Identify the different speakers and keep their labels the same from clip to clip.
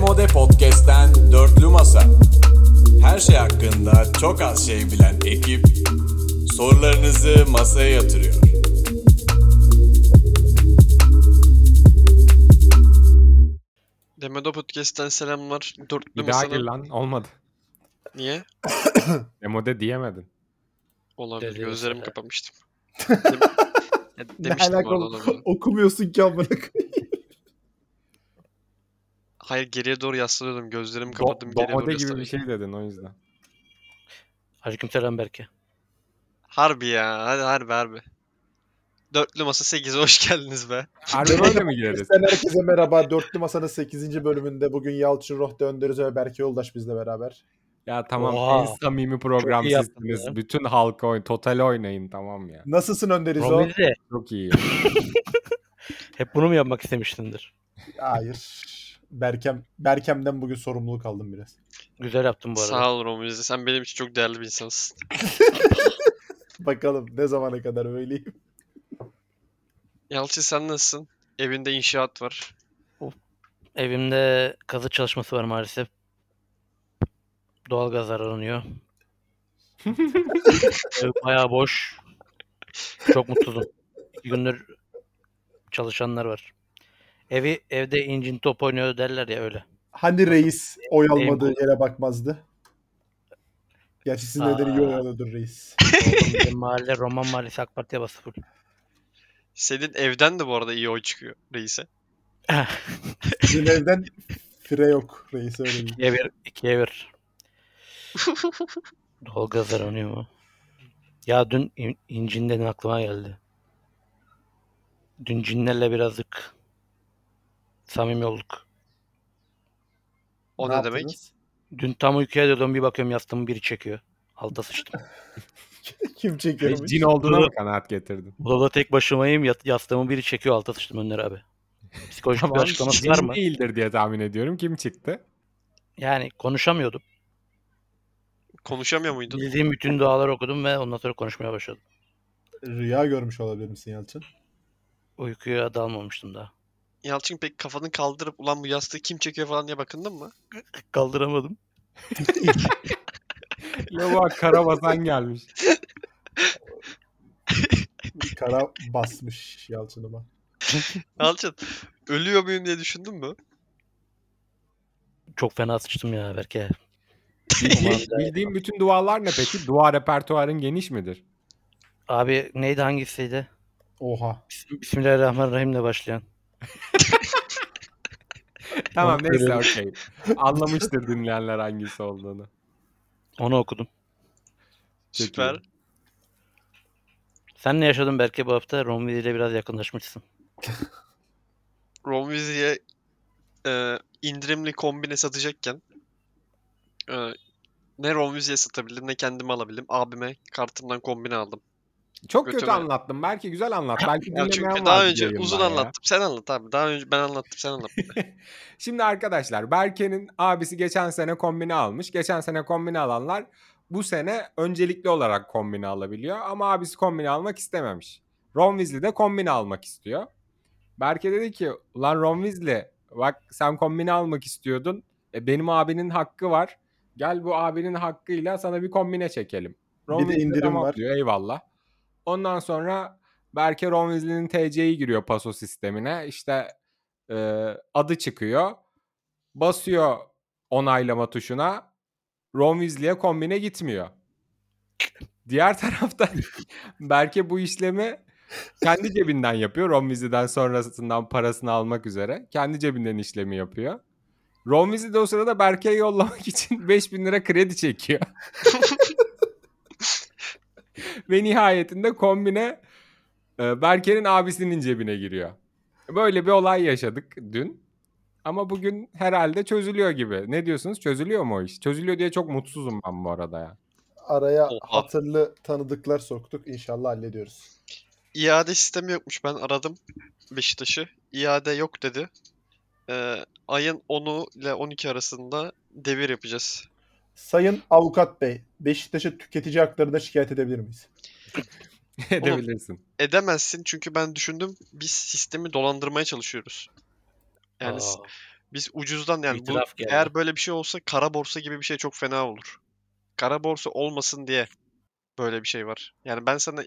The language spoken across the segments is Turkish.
Speaker 1: Mode Podcast'ten Dörtlü Masa. Her şey hakkında çok az şey bilen ekip sorularınızı masaya yatırıyor.
Speaker 2: Demodo Podcast'ten selamlar. Dörtlü
Speaker 3: Bir daha
Speaker 2: masada.
Speaker 3: gir lan. Olmadı.
Speaker 2: Niye?
Speaker 3: Demode diyemedin.
Speaker 2: Olabilir.
Speaker 4: Dörtlü
Speaker 2: Gözlerimi
Speaker 4: masada.
Speaker 2: kapamıştım. Dem- Ya demiştim bu
Speaker 5: alaka
Speaker 2: arada
Speaker 5: oğlum?
Speaker 2: olabilir.
Speaker 5: Okumuyorsun ki amına koyayım.
Speaker 2: Hayır geriye doğru yaslanıyordum. Gözlerimi kapattım.
Speaker 3: Do-
Speaker 2: geriye doğru
Speaker 3: Domode gibi bir
Speaker 2: yaslanıyordum.
Speaker 3: şey dedin o yüzden.
Speaker 4: Aleykümselam Berke.
Speaker 2: Harbi ya. Hadi harbi harbi. Dörtlü masa 8'e hoş geldiniz be.
Speaker 3: Harbi böyle mi gireriz?
Speaker 5: Sen herkese merhaba. Dörtlü Masa'nın 8. bölümünde bugün Yalçın Rohde Önderiz ve Berke Yoldaş bizle beraber.
Speaker 3: Ya tamam
Speaker 4: Oha.
Speaker 3: en samimi program
Speaker 4: Çok iyi yaptın
Speaker 3: sizsiniz.
Speaker 4: ya.
Speaker 3: Bütün halka oyun, total oynayın tamam ya.
Speaker 5: Nasılsın Önderiz o?
Speaker 4: Romize
Speaker 3: Çok iyi.
Speaker 4: hep bunu mu yapmak istemiştindir?
Speaker 5: Hayır. Berkem Berkem'den bugün sorumluluk aldım biraz.
Speaker 4: Güzel yaptın bu arada.
Speaker 2: Sağ ol Romuzi. Sen benim için çok değerli bir insansın.
Speaker 5: Bakalım ne zamana kadar öyleyim.
Speaker 2: Yalçın sen nasılsın? Evinde inşaat var.
Speaker 4: Evimde kazı çalışması var maalesef. Doğalgaz aranıyor. Ev bayağı boş. Çok mutsuzum. İki gündür çalışanlar var. Evi evde incin top oynuyor derler ya öyle.
Speaker 5: Hani reis oy
Speaker 4: Neyim
Speaker 5: almadığı yere bakmazdı. Gerçi sizin
Speaker 4: Aa.
Speaker 5: nedeni iyi oy alıyordur reis.
Speaker 4: Oğlum bizim mahalle Roman Mahallesi AK Parti'ye bası full.
Speaker 2: Senin evden de bu arada iyi oy çıkıyor reise.
Speaker 5: Sizin evden fire yok reis öyle değil.
Speaker 4: İkiye bir. ikiye bir. Dolgaz aranıyor mu? Ya dün in- incinden aklıma geldi. Dün cinlerle birazcık samimi olduk.
Speaker 2: O ne, demek?
Speaker 4: Dün tam uykuya diyordum bir bakıyorum yastığımı biri çekiyor. Alta sıçtım.
Speaker 5: demek? Kim
Speaker 3: E,
Speaker 5: çekiyormuş?
Speaker 3: Cin olduğuna mı kanaat getirdin?
Speaker 4: Odada tek başımayım yat- yastığımı biri çekiyor alta sıçtım Önder abi. Psikolojik bir açıklaması var
Speaker 3: Cin
Speaker 4: mı?
Speaker 3: değildir diye tahmin ediyorum. Kim çıktı?
Speaker 4: Yani konuşamıyordum.
Speaker 2: Konuşamıyor muydun?
Speaker 4: Bildiğim bütün duaları okudum ve ondan sonra konuşmaya başladım.
Speaker 5: Rüya görmüş olabilir misin Yalçın?
Speaker 4: Uykuya dalmamıştım daha.
Speaker 2: Yalçın pek kafanı kaldırıp ulan bu yastığı kim çekiyor falan diye bakındın mı?
Speaker 4: Kaldıramadım.
Speaker 3: Ya bak Karabasan gelmiş.
Speaker 5: Kara basmış Yalçın'ıma.
Speaker 2: Yalçın ölüyor muyum diye düşündün mü?
Speaker 4: Çok fena sıçtım ya Berke.
Speaker 3: Bildiğin, bildiğin bütün dualar ne peki? Dua repertuarın geniş midir?
Speaker 4: Abi neydi hangisiydi?
Speaker 5: Oha.
Speaker 4: Bism- Bismillahirrahmanirrahimle başlayan.
Speaker 3: Tamam
Speaker 4: Yok,
Speaker 3: neyse
Speaker 4: öyle
Speaker 3: okey. Anlamıştır dinleyenler hangisi olduğunu.
Speaker 4: Onu okudum.
Speaker 3: Çok
Speaker 2: Süper.
Speaker 3: iyi.
Speaker 4: Sen ne yaşadın Berke bu hafta? Romville ile biraz yakınlaşmışsın.
Speaker 2: Ron Weasley'e e, indirimli kombine satacakken e, ne Ron Weasley'e satabildim ne kendime alabildim. Abime kartımdan kombine aldım.
Speaker 3: Çok
Speaker 2: Kötü
Speaker 3: kötü,
Speaker 2: mü?
Speaker 3: anlattım. Belki güzel anlat. Belki
Speaker 2: Ya
Speaker 3: dinlemeyen
Speaker 2: çünkü
Speaker 3: vardır
Speaker 2: daha önce
Speaker 3: yayından
Speaker 2: uzun
Speaker 3: ya.
Speaker 2: anlattım. Sen anlat abi. Daha önce ben anlattım sen anlat.
Speaker 3: Şimdi arkadaşlar Berke'nin abisi geçen sene kombine almış. Geçen sene kombine alanlar bu sene öncelikli olarak kombine alabiliyor. Ama abisi kombine almak istememiş. Ron Weasley de kombine almak istiyor. Berke dedi ki ulan Ron Weasley bak sen kombine almak istiyordun. E, benim abinin hakkı var. Gel bu abinin hakkıyla sana bir kombine çekelim. Ron
Speaker 5: Bir de
Speaker 3: Weasley
Speaker 5: indirim
Speaker 3: tamam
Speaker 5: var.
Speaker 3: Diyor, eyvallah. Ondan sonra Berke Ron Weasley'nin TC'yi giriyor paso sistemine. İşte e, adı çıkıyor. Basıyor onaylama tuşuna. Ron Weasley'e kombine gitmiyor. Diğer taraftan Berke bu işlemi kendi cebinden yapıyor. Ron Weasley'den sonrasından parasını almak üzere. Kendi cebinden işlemi yapıyor. Ron Weasley de o sırada Berke'ye yollamak için 5000 lira kredi çekiyor. Ve nihayetinde kombine e, Berke'nin abisinin cebine giriyor. Böyle bir olay yaşadık dün. Ama bugün herhalde çözülüyor gibi. Ne diyorsunuz? Çözülüyor mu o iş? Çözülüyor diye çok mutsuzum ben bu arada ya.
Speaker 5: Araya
Speaker 2: Oha.
Speaker 5: hatırlı tanıdıklar soktuk. İnşallah hallediyoruz.
Speaker 2: İade sistemi yokmuş. Ben aradım Beşiktaş'ı. İade yok dedi. E, ayın 10'u ile 12 arasında devir yapacağız.
Speaker 5: Sayın Avukat Bey, Beşiktaş'a tüketici haklarında şikayet edebilir miyiz?
Speaker 3: Edebilirsin.
Speaker 2: Edemezsin çünkü ben düşündüm biz sistemi dolandırmaya çalışıyoruz. Yani s-
Speaker 4: Aa,
Speaker 2: Biz ucuzdan yani bu,
Speaker 4: İtiraf geldi.
Speaker 2: eğer böyle bir şey olsa kara borsa gibi bir şey çok fena olur. Kara borsa olmasın diye böyle bir şey var. Yani ben sana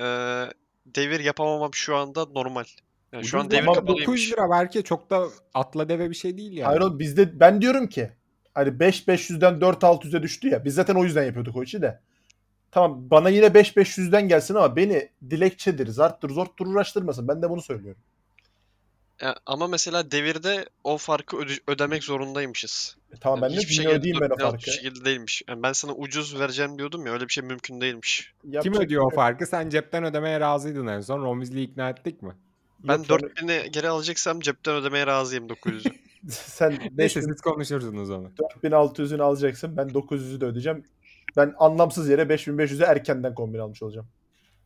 Speaker 2: eee, devir yapamamam şu anda normal. Yani şu an
Speaker 5: Ucuz
Speaker 2: devir
Speaker 5: ama
Speaker 2: kapalıymış.
Speaker 3: 900 lira belki çok da atla deve bir şey değil yani.
Speaker 5: Hayır oğlum bizde ben diyorum ki hani 5500'den 4600'e düştü ya. Biz zaten o yüzden yapıyorduk o işi de. Tamam bana yine 5500'den gelsin ama beni dilekçedir, zarttır, zorttur uğraştırmasın. Ben de bunu söylüyorum.
Speaker 2: Ya ama mesela devirde o farkı öde- ödemek zorundaymışız.
Speaker 5: E, tamam
Speaker 2: Yani
Speaker 5: ben de
Speaker 2: hiçbir şey
Speaker 5: yine
Speaker 2: şekilde
Speaker 5: ödeyeyim ben o
Speaker 2: dokunulmaz bir
Speaker 5: farkı.
Speaker 2: şekilde değilmiş. Yani ben sana ucuz vereceğim diyordum ya öyle bir şey mümkün değilmiş.
Speaker 3: Kim ödüyor
Speaker 5: şey
Speaker 3: o farkı? Sen cepten ödemeye razıydın en son. Romizli'yi ikna ettik mi?
Speaker 2: Ben 4000'i geri alacaksam cepten ödemeye razıyım 900'ü.
Speaker 5: Sen
Speaker 3: Neyse siz konuşursunuz onu.
Speaker 5: 4600'ünü alacaksın. Ben 900'ü de ödeyeceğim. Ben anlamsız yere 5500'ü erkenden kombin almış olacağım.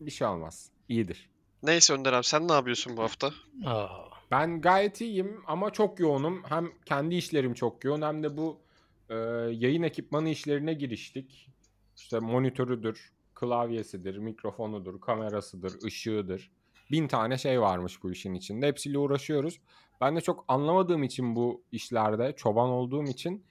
Speaker 3: Bir şey olmaz. İyidir.
Speaker 2: Neyse Önder abi sen ne yapıyorsun bu hafta?
Speaker 4: Aa,
Speaker 3: Ben gayet iyiyim ama çok yoğunum. Hem kendi işlerim çok yoğun hem de bu e, yayın ekipmanı işlerine giriştik. İşte monitörüdür, klavyesidir, mikrofonudur, kamerasıdır, ışığıdır. Bin tane şey varmış bu işin içinde. Hepsiyle uğraşıyoruz. Ben de çok anlamadığım için bu işlerde, çoban olduğum için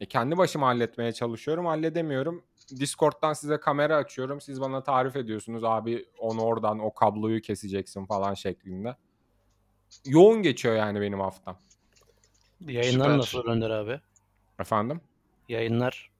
Speaker 3: e, kendi başıma halletmeye çalışıyorum. Halledemiyorum. Discord'dan size kamera açıyorum. Siz bana tarif ediyorsunuz. Abi onu oradan o kabloyu keseceksin falan şeklinde yoğun geçiyor yani benim haftam.
Speaker 4: yayınlar
Speaker 2: Süper.
Speaker 4: nasıl Önder abi?
Speaker 3: Efendim?
Speaker 4: Yayınlar.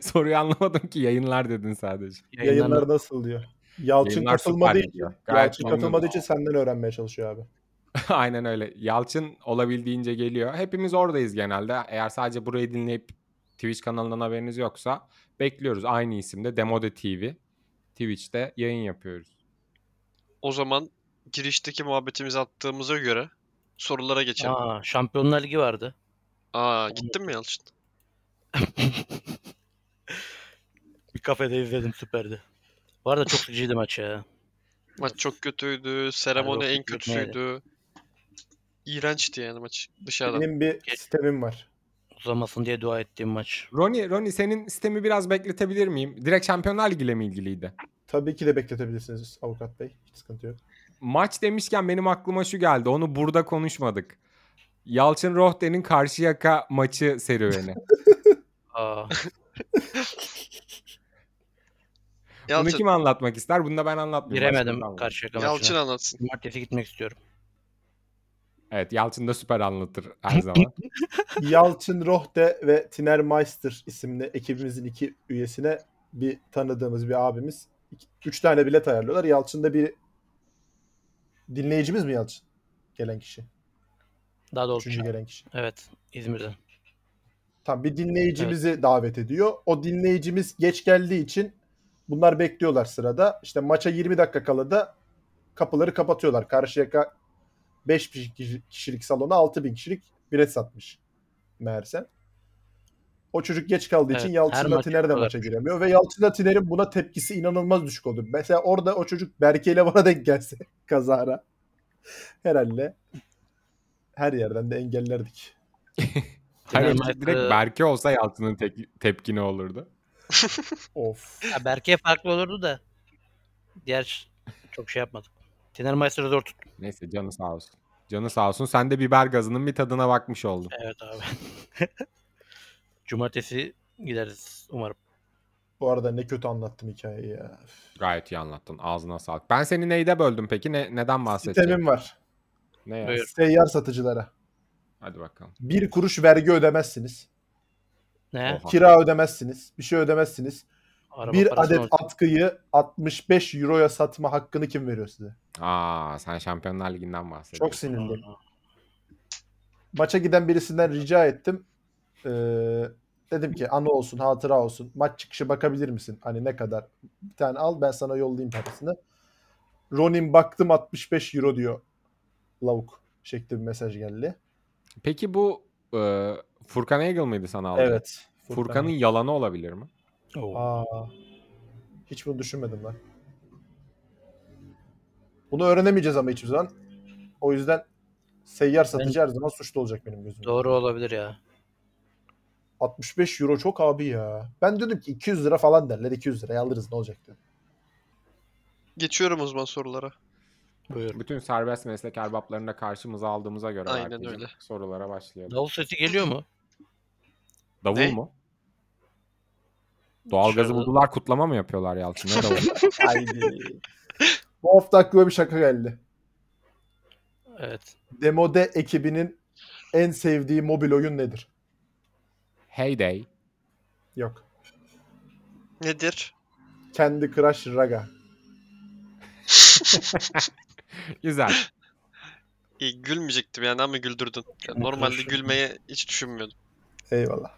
Speaker 3: Soruyu anlamadım ki yayınlar dedin sadece.
Speaker 5: Yayınlar nasıl diyor. Yalçın
Speaker 3: Yayınlar
Speaker 5: katılmadığı
Speaker 3: süper
Speaker 5: için,
Speaker 3: gidiyor. Gayet
Speaker 5: Yalçın
Speaker 3: memnunum.
Speaker 5: katılmadığı için senden öğrenmeye çalışıyor abi.
Speaker 3: Aynen öyle. Yalçın olabildiğince geliyor. Hepimiz oradayız genelde. Eğer sadece burayı dinleyip Twitch kanalından haberiniz yoksa bekliyoruz. Aynı isimde Demode TV. Twitch'te yayın yapıyoruz.
Speaker 2: O zaman girişteki muhabbetimizi attığımıza göre sorulara geçelim. Aa,
Speaker 4: Aa, Şampiyonlar Ligi vardı.
Speaker 2: gittin mi Yalçın?
Speaker 4: Bir kafede izledim süperdi. Bu arada çok sıkıcıydı maç ya.
Speaker 2: Maç çok kötüydü. Seremoni
Speaker 4: Hayır, o
Speaker 2: en
Speaker 4: kötü
Speaker 2: kötüsüydü. İğrençti yani maç dışarıdan.
Speaker 5: Benim bir sistemim var.
Speaker 4: Uzamasın diye dua ettiğim maç.
Speaker 3: Roni, Roni senin sistemi biraz bekletebilir miyim? Direkt Şampiyonlar Ligi ile mi ilgiliydi?
Speaker 5: Tabii ki de bekletebilirsiniz avukat bey. Hiç sıkıntı yok.
Speaker 3: Maç demişken benim aklıma şu geldi. Onu burada konuşmadık. Yalçın Rohde'nin Karşıyaka maçı serüveni.
Speaker 4: Aa,
Speaker 3: Bunu
Speaker 2: Yalçın,
Speaker 3: kim anlatmak ister? Bunu da ben anlatmayayım. Başkası
Speaker 4: giremedim
Speaker 3: anlatır.
Speaker 4: karşı yaka
Speaker 2: Yalçın
Speaker 4: maçına.
Speaker 2: anlatsın.
Speaker 4: Cumartesi gitmek istiyorum.
Speaker 3: Evet Yalçın da süper anlatır her zaman.
Speaker 5: Yalçın Rohde ve Tiner Meister isimli ekibimizin iki üyesine bir tanıdığımız bir abimiz. iki- üç tane bilet ayarlıyorlar. Yalçın'da bir dinleyicimiz mi Yalçın? Gelen kişi.
Speaker 4: Daha doğrusu.
Speaker 5: Üçüncü gelen kişi.
Speaker 4: Evet. İzmir'den.
Speaker 5: Tam bir dinleyicimizi davet ediyor. O dinleyicimiz geç geldiği için bunlar bekliyorlar sırada. İşte maça 20 dakika kala da kapıları kapatıyorlar. Karşıyaka 5 bin kişi- kişilik salona 6 bin kişilik bilet satmış meğerse. O çocuk geç kaldığı için
Speaker 4: Evet, her
Speaker 5: Yalçın
Speaker 4: maç
Speaker 5: Tiner de maça
Speaker 4: yapıyorlar.
Speaker 5: giremiyor. Ve Yalçın Tiner'in buna tepkisi inanılmaz düşük oldu. Mesela orada o çocuk Berke ile bana denk gelse kazara herhalde her yerden de engellerdik.
Speaker 3: Hayır,
Speaker 4: Genel
Speaker 3: direkt
Speaker 4: maçta-
Speaker 3: Berke olsa Yalçın'ın tek- tepkini olurdu.
Speaker 5: Of.
Speaker 4: Ya Berke farklı olurdu da. Diğer çok şey yapmadık. Tiner Meister'ı zor tuttum.
Speaker 3: Neyse canı sağ olsun. Canı sağ olsun. Sen de biber gazının bir tadına bakmış oldun.
Speaker 4: Evet abi. Cumartesi gideriz umarım.
Speaker 5: Bu arada ne kötü anlattım hikayeyi ya.
Speaker 3: Gayet iyi anlattın. Ağzına sağlık. Ben seni neyde böldüm peki? Ne, neden bahsedeceğim?
Speaker 5: Sistemim var.
Speaker 3: Ne ya?
Speaker 4: Buyur.
Speaker 5: Seyyar satıcılara.
Speaker 3: Hadi bakalım.
Speaker 5: Bir kuruş vergi ödemezsiniz.
Speaker 4: Ne?
Speaker 3: Oha.
Speaker 5: Kira ödemezsiniz. Bir şey ödemezsiniz.
Speaker 4: Araba
Speaker 5: bir
Speaker 4: parasını
Speaker 5: adet
Speaker 4: alacağım.
Speaker 5: atkıyı 65 euroya satma hakkını kim veriyor size?
Speaker 3: Aa sen Şampiyonlar Ligi'nden bahsediyorsun.
Speaker 5: Çok sinirliyim. Maça giden birisinden rica ettim. Ee, dedim ki anı olsun, hatıra olsun. Maç çıkışı bakabilir misin? Hani ne kadar? Bir tane al ben sana yollayayım parasını. Ronin baktım 65 euro diyor. Lavuk şeklinde bir mesaj geldi.
Speaker 3: Peki bu e, Furkan Egil mıydı sana aldı?
Speaker 5: Evet.
Speaker 3: Furkan'ın yalanı olabilir mi?
Speaker 4: Oo.
Speaker 5: Aa, hiç bunu düşünmedim ben. Bunu öğrenemeyeceğiz ama hiçbir zaman. O yüzden seyyar satıcı her zaman suçlu olacak benim gözümde.
Speaker 4: Doğru olabilir ya.
Speaker 5: 65 euro çok abi ya. Ben dedim ki 200 lira falan derler. 200 liraya alırız ne olacak dedim.
Speaker 2: Geçiyorum o zaman sorulara.
Speaker 4: Buyur.
Speaker 3: Bütün serbest meslek erbaplarını da karşımıza aldığımıza göre
Speaker 2: Aynen
Speaker 3: Berkeciğim,
Speaker 2: öyle.
Speaker 3: sorulara başlayalım.
Speaker 4: Davul sesi geliyor mu?
Speaker 3: Davul
Speaker 2: Ne?
Speaker 3: mu? Doğalgazı
Speaker 4: Dışarıda-
Speaker 3: buldular kutlama mı yapıyorlar Yalçın? Ne davul?
Speaker 5: Haydi. Bu hafta aklıma bir şaka geldi.
Speaker 4: Evet.
Speaker 5: Demode ekibinin en sevdiği mobil oyun nedir?
Speaker 3: Heyday.
Speaker 5: Yok.
Speaker 2: Nedir?
Speaker 5: Kendi Crush Raga.
Speaker 3: Güzel.
Speaker 2: İyi, gülmeyecektim yani ama güldürdün. Ya, normalde
Speaker 4: Konuşuyorum.
Speaker 2: gülmeye hiç düşünmüyordum.
Speaker 5: Eyvallah.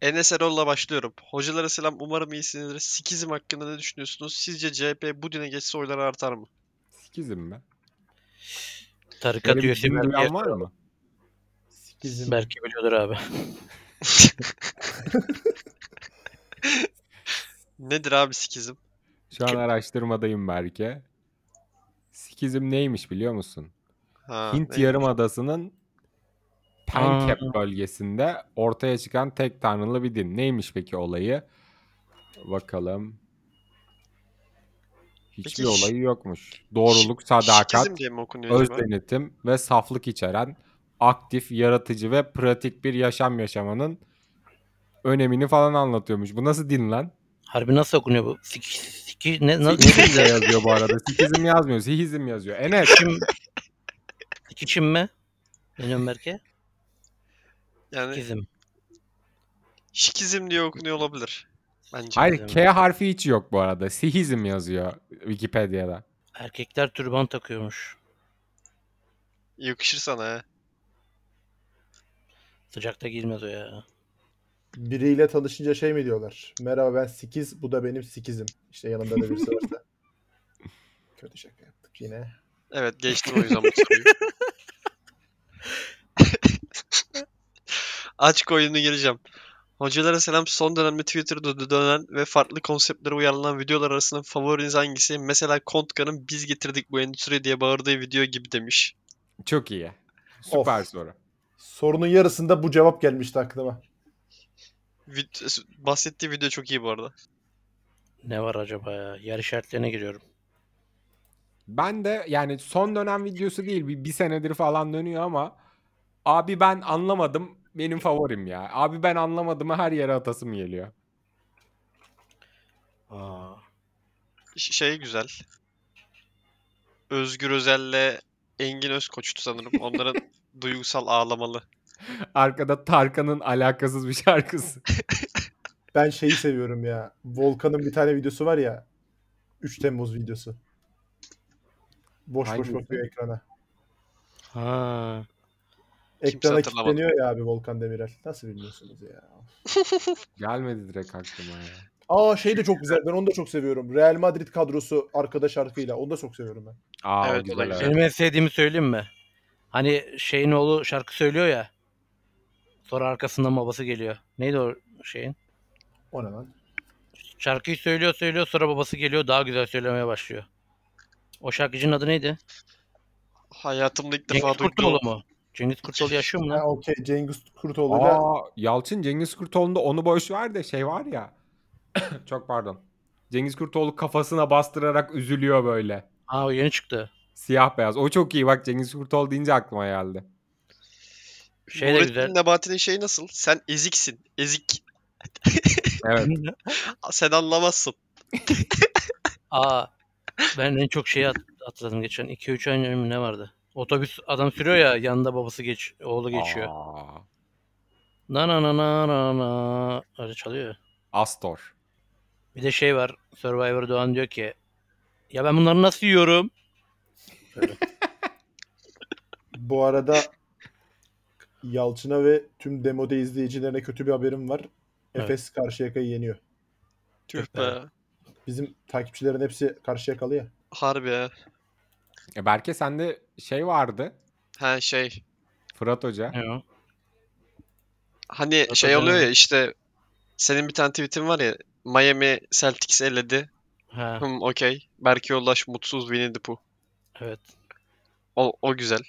Speaker 2: Enes Erol'la başlıyorum. Hocalara selam. Umarım iyisinizdir. Sikizim hakkında ne düşünüyorsunuz? Sizce CHP bu dine geçse oyları artar mı?
Speaker 3: Sikizim mi?
Speaker 4: Tarikat
Speaker 3: Böyle bir
Speaker 4: üyesi
Speaker 3: cin duyan var
Speaker 4: Berke,
Speaker 3: mı?
Speaker 5: Sikizim.
Speaker 4: Berke biliyordur abi.
Speaker 2: Nedir abi sikizim?
Speaker 3: Şu an araştırmadayım Berke. Sikizim neymiş biliyor musun?
Speaker 2: Ha,
Speaker 3: Hint
Speaker 2: ne-
Speaker 3: Yarımadası'nın Pencap bölgesinde ortaya çıkan tek tanrılı bir din. Neymiş peki olayı? Bakalım. Hiçbir
Speaker 2: Peki şi-
Speaker 3: olayı yokmuş. Doğruluk, sadakat,
Speaker 2: Sikizm diye mi okunuyor
Speaker 3: öz
Speaker 2: acaba?
Speaker 3: denetim ve saflık içeren aktif, yaratıcı ve pratik bir yaşam yaşamanın önemini falan anlatıyormuş. Bu nasıl din lan?
Speaker 4: Harbi nasıl okunuyor bu? Siki, siki ne, nasıl?
Speaker 3: Sikizm de yazıyor bu arada. Sikizm yazmıyor. Sihizm yazıyor. Enes.
Speaker 4: Kim? Sikişim mi? Benim Berke.
Speaker 2: Yani
Speaker 4: Sikizim.
Speaker 2: şikizm diye okunuyor olabilir. Bence.
Speaker 3: Hayır
Speaker 4: Sikizm.
Speaker 3: K harfi hiç yok bu arada. Sihizm yazıyor Wikipedia'da.
Speaker 4: Erkekler türban takıyormuş.
Speaker 2: Yakışır sana ha.
Speaker 4: Sıcakta girmez o ya.
Speaker 5: Biriyle tanışınca şey mi diyorlar? Merhaba ben Sikiz, bu da benim Sikizim. İşte yanında da birisi varsa. Kötü şaka yaptık yine.
Speaker 2: Evet geçtim o yüzden bu soruyu. Aç oyunu gireceğim. Hocalara selam. Son dönemde Twitter'da dö- dönen ve farklı konseptlere uyarlanan videolar arasında favoriniz hangisi? Mesela Kontka'nın biz getirdik bu endüstriye diye bağırdığı video gibi demiş.
Speaker 3: Çok iyi. Süper soru.
Speaker 5: Sorunun yarısında bu cevap gelmişti aklıma.
Speaker 2: Vid- bahsettiği video çok iyi bu arada.
Speaker 4: Ne var acaba ya? Yer işaretlerine giriyorum.
Speaker 3: Ben de yani son dönem videosu değil bir, bir senedir falan dönüyor ama abi ben anlamadım benim favorim ya. Abi ben anlamadım her yere atasım geliyor.
Speaker 4: Aa.
Speaker 2: Ş- şey güzel. Özgür Özel'le Engin Özkoç'tu sanırım. Onların duygusal ağlamalı.
Speaker 3: Arkada Tarkan'ın alakasız bir şarkısı.
Speaker 5: Ben şeyi seviyorum ya. Volkan'ın bir tane videosu var ya. 3 Temmuz videosu. Boş
Speaker 3: Hangisi?
Speaker 5: boş bakıyor ekrana.
Speaker 4: Ha.
Speaker 2: Kimse
Speaker 5: Ekrana
Speaker 2: hatırlamadı.
Speaker 5: kilitleniyor ya abi Volkan Demirel. Nasıl bilmiyorsunuz ya?
Speaker 3: Gelmedi direkt aklıma ya.
Speaker 5: Aa şey de çok güzel. Ben onu da çok seviyorum. Real Madrid kadrosu arkada şarkıyla. Onu da çok seviyorum ben.
Speaker 3: Aa, o
Speaker 2: Evet, o da
Speaker 3: güzel,
Speaker 2: güzel.
Speaker 3: evet.
Speaker 4: Benim en sevdiğimi söyleyeyim mi? Hani şeyin oğlu şarkı söylüyor ya. Sonra arkasından babası geliyor. Neydi o şeyin?
Speaker 5: O ne lan?
Speaker 4: Şarkıyı söylüyor söylüyor sonra babası geliyor daha güzel söylemeye başlıyor. O şarkıcının adı neydi?
Speaker 2: Hayatımda ilk
Speaker 4: Cengiz
Speaker 2: defa
Speaker 4: Kurtoğlu
Speaker 2: duydum.
Speaker 4: mu? Cengiz Kurtoğlu yaşıyor mu
Speaker 5: Ha,
Speaker 4: lan?
Speaker 5: okey. Cengiz Kurtoğlu ile
Speaker 3: Aa, Yalçın Cengiz Kurtoğlu'nda onu boş ver de şey var ya. çok pardon. Cengiz Kurtoğlu kafasına bastırarak üzülüyor böyle.
Speaker 4: Aa o yeni çıktı.
Speaker 3: Siyah beyaz. O çok iyi bak Cengiz Kurtoğlu deyince aklıma geldi.
Speaker 4: Şey de
Speaker 2: Nurettin
Speaker 4: güzel.
Speaker 2: Nebati'nin şeyi nasıl? Sen eziksin. Ezik.
Speaker 3: Evet.
Speaker 2: Sen anlamazsın.
Speaker 4: Aa ben en çok şeyi at- atladım geçen. 2-3 ay önce mi ne vardı? Otobüs adam sürüyor ya yanında babası geç oğlu geçiyor.
Speaker 3: Aa,
Speaker 4: Na na na na na na. Öyle çalıyor.
Speaker 3: Astor.
Speaker 4: Bir de şey var. Survivor Doğan diyor ki ya ben bunları nasıl yiyorum?
Speaker 5: bu arada Yalçın'a ve tüm demode izleyicilerine kötü bir haberim var.
Speaker 4: Evet.
Speaker 5: Efes Karşıyaka'yı yeniyor.
Speaker 2: Tüh
Speaker 4: be.
Speaker 2: be.
Speaker 5: Bizim takipçilerin hepsi Karşıyakalı ya.
Speaker 2: Harbi ya.
Speaker 3: E Berke sende şey vardı.
Speaker 2: Ha şey.
Speaker 3: Fırat Hoca.
Speaker 4: Ya.
Speaker 2: Hani
Speaker 4: Zaten
Speaker 2: şey oluyor
Speaker 4: öyle.
Speaker 2: ya işte senin bir tane tweetin var ya Miami Celtics eledi.
Speaker 4: Ha,
Speaker 2: Hım okey. Berke Yoldaş mutsuz Winnie the Pooh.
Speaker 4: evet.
Speaker 2: O, o güzel.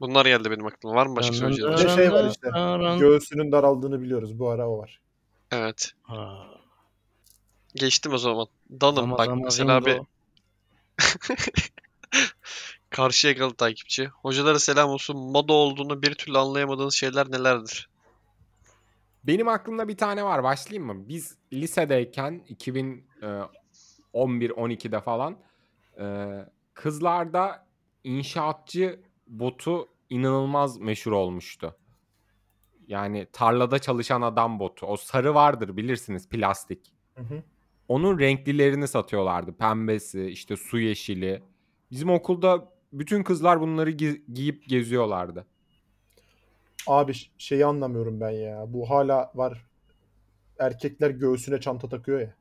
Speaker 2: Bunlar geldi benim aklıma. Var mı başka söyleyeceğim?
Speaker 5: Bir de şey var işte. Göğsünün daraldığını biliyoruz. Bu ara o var.
Speaker 2: Evet.
Speaker 4: Ha,
Speaker 2: Geçtim o zaman. Danım
Speaker 4: Ama
Speaker 2: bak
Speaker 4: Zama
Speaker 2: mesela bir
Speaker 4: Zingo-
Speaker 2: karşı yakalı takipçi. Hocalara selam olsun. Moda olduğunu bir türlü anlayamadığınız şeyler nelerdir?
Speaker 3: Benim aklımda bir tane var. Başlayayım mı? Biz lisedeyken e, 2011-12'de falan e, kızlarda inşaatçı botu inanılmaz meşhur olmuştu. Yani tarlada çalışan adam botu. O sarı vardır bilirsiniz plastik.
Speaker 5: Hı hı.
Speaker 3: Onun renklilerini satıyorlardı. Pembesi, işte su yeşili. Bizim okulda bütün kızlar bunları gi- giyip geziyorlardı.
Speaker 5: Abi ş- şeyi anlamıyorum ben ya. Bu hala var. Erkekler göğsüne çanta takıyor ya.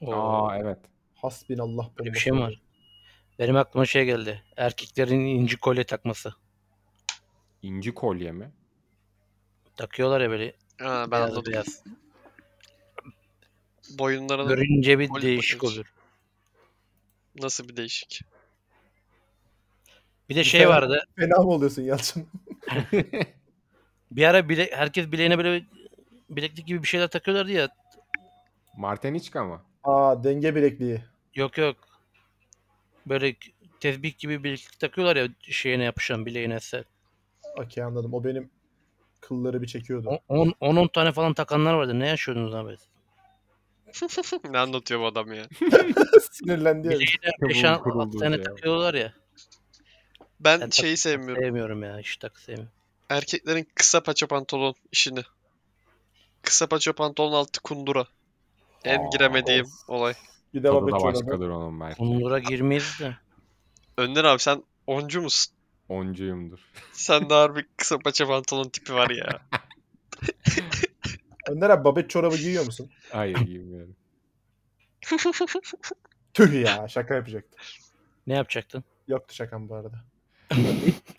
Speaker 4: Oo.
Speaker 3: Aa evet.
Speaker 5: Hasbinallah.
Speaker 4: Böyle bir
Speaker 5: bombası
Speaker 4: şey mi var?
Speaker 5: oluyor.
Speaker 4: Benim aklıma şey geldi. Erkeklerin inci kolye takması.
Speaker 3: İnci kolye mi?
Speaker 4: Takıyorlar ya böyle
Speaker 2: Ha, ben
Speaker 4: beyaz
Speaker 2: anladım.
Speaker 4: beyaz.
Speaker 2: Boyunlarının
Speaker 4: Görünce bir
Speaker 2: Kolye
Speaker 4: değişik
Speaker 2: takıyoruz.
Speaker 4: olur.
Speaker 2: nasıl bir değişik?
Speaker 4: Bir de
Speaker 5: Bir
Speaker 4: şey
Speaker 5: tane-
Speaker 4: vardı.
Speaker 5: Fena mı oluyorsun Yalçın?
Speaker 4: Bir ara bile, herkes bileğine böyle bileklik gibi bir şeyler takıyorlardı ya.
Speaker 3: Marteniçka mı?
Speaker 5: Aa denge bilekliği.
Speaker 4: Yok yok. Böyle tezbih gibi bileklik takıyorlar ya şeyine yapışan bileğine. se-
Speaker 5: Okey anladım. O benim kılları bir çekiyordu.
Speaker 4: On- on- 10-10 tane falan takanlar vardı. Ne yaşıyordunuz abi?
Speaker 2: Ne anlatıyor bu adam ya?
Speaker 5: Sinirlendi ya.
Speaker 4: Bileğine
Speaker 3: Kabuğun
Speaker 4: 5 6
Speaker 3: kurulduğu
Speaker 4: tane
Speaker 3: şey.
Speaker 4: takıyorlar ya.
Speaker 2: Ben
Speaker 4: Ben tak-
Speaker 2: şeyi sevmiyorum.
Speaker 4: Sevmiyorum ya. Hiç tak sevmiyorum.
Speaker 2: Erkeklerin kısa paça pantolon işini. Kısa paça pantolon altı kundura. En
Speaker 3: Aa,
Speaker 2: giremediğim
Speaker 5: of.
Speaker 2: olay.
Speaker 5: Bir de
Speaker 3: Tadı da
Speaker 5: babacığım.
Speaker 3: başkadır onun belki.
Speaker 4: Onlara girmeyiz de.
Speaker 2: Önder abi sen oncu musun?
Speaker 3: Oncuyumdur.
Speaker 2: Sende harbi kısa paça pantolon tipi var ya.
Speaker 5: Önder abi babet çorabı giyiyor musun?
Speaker 3: Hayır giymiyorum.
Speaker 5: Tüh ya şaka yapacaktım.
Speaker 4: Ne yapacaktın?
Speaker 5: Yoktu şakam bu arada.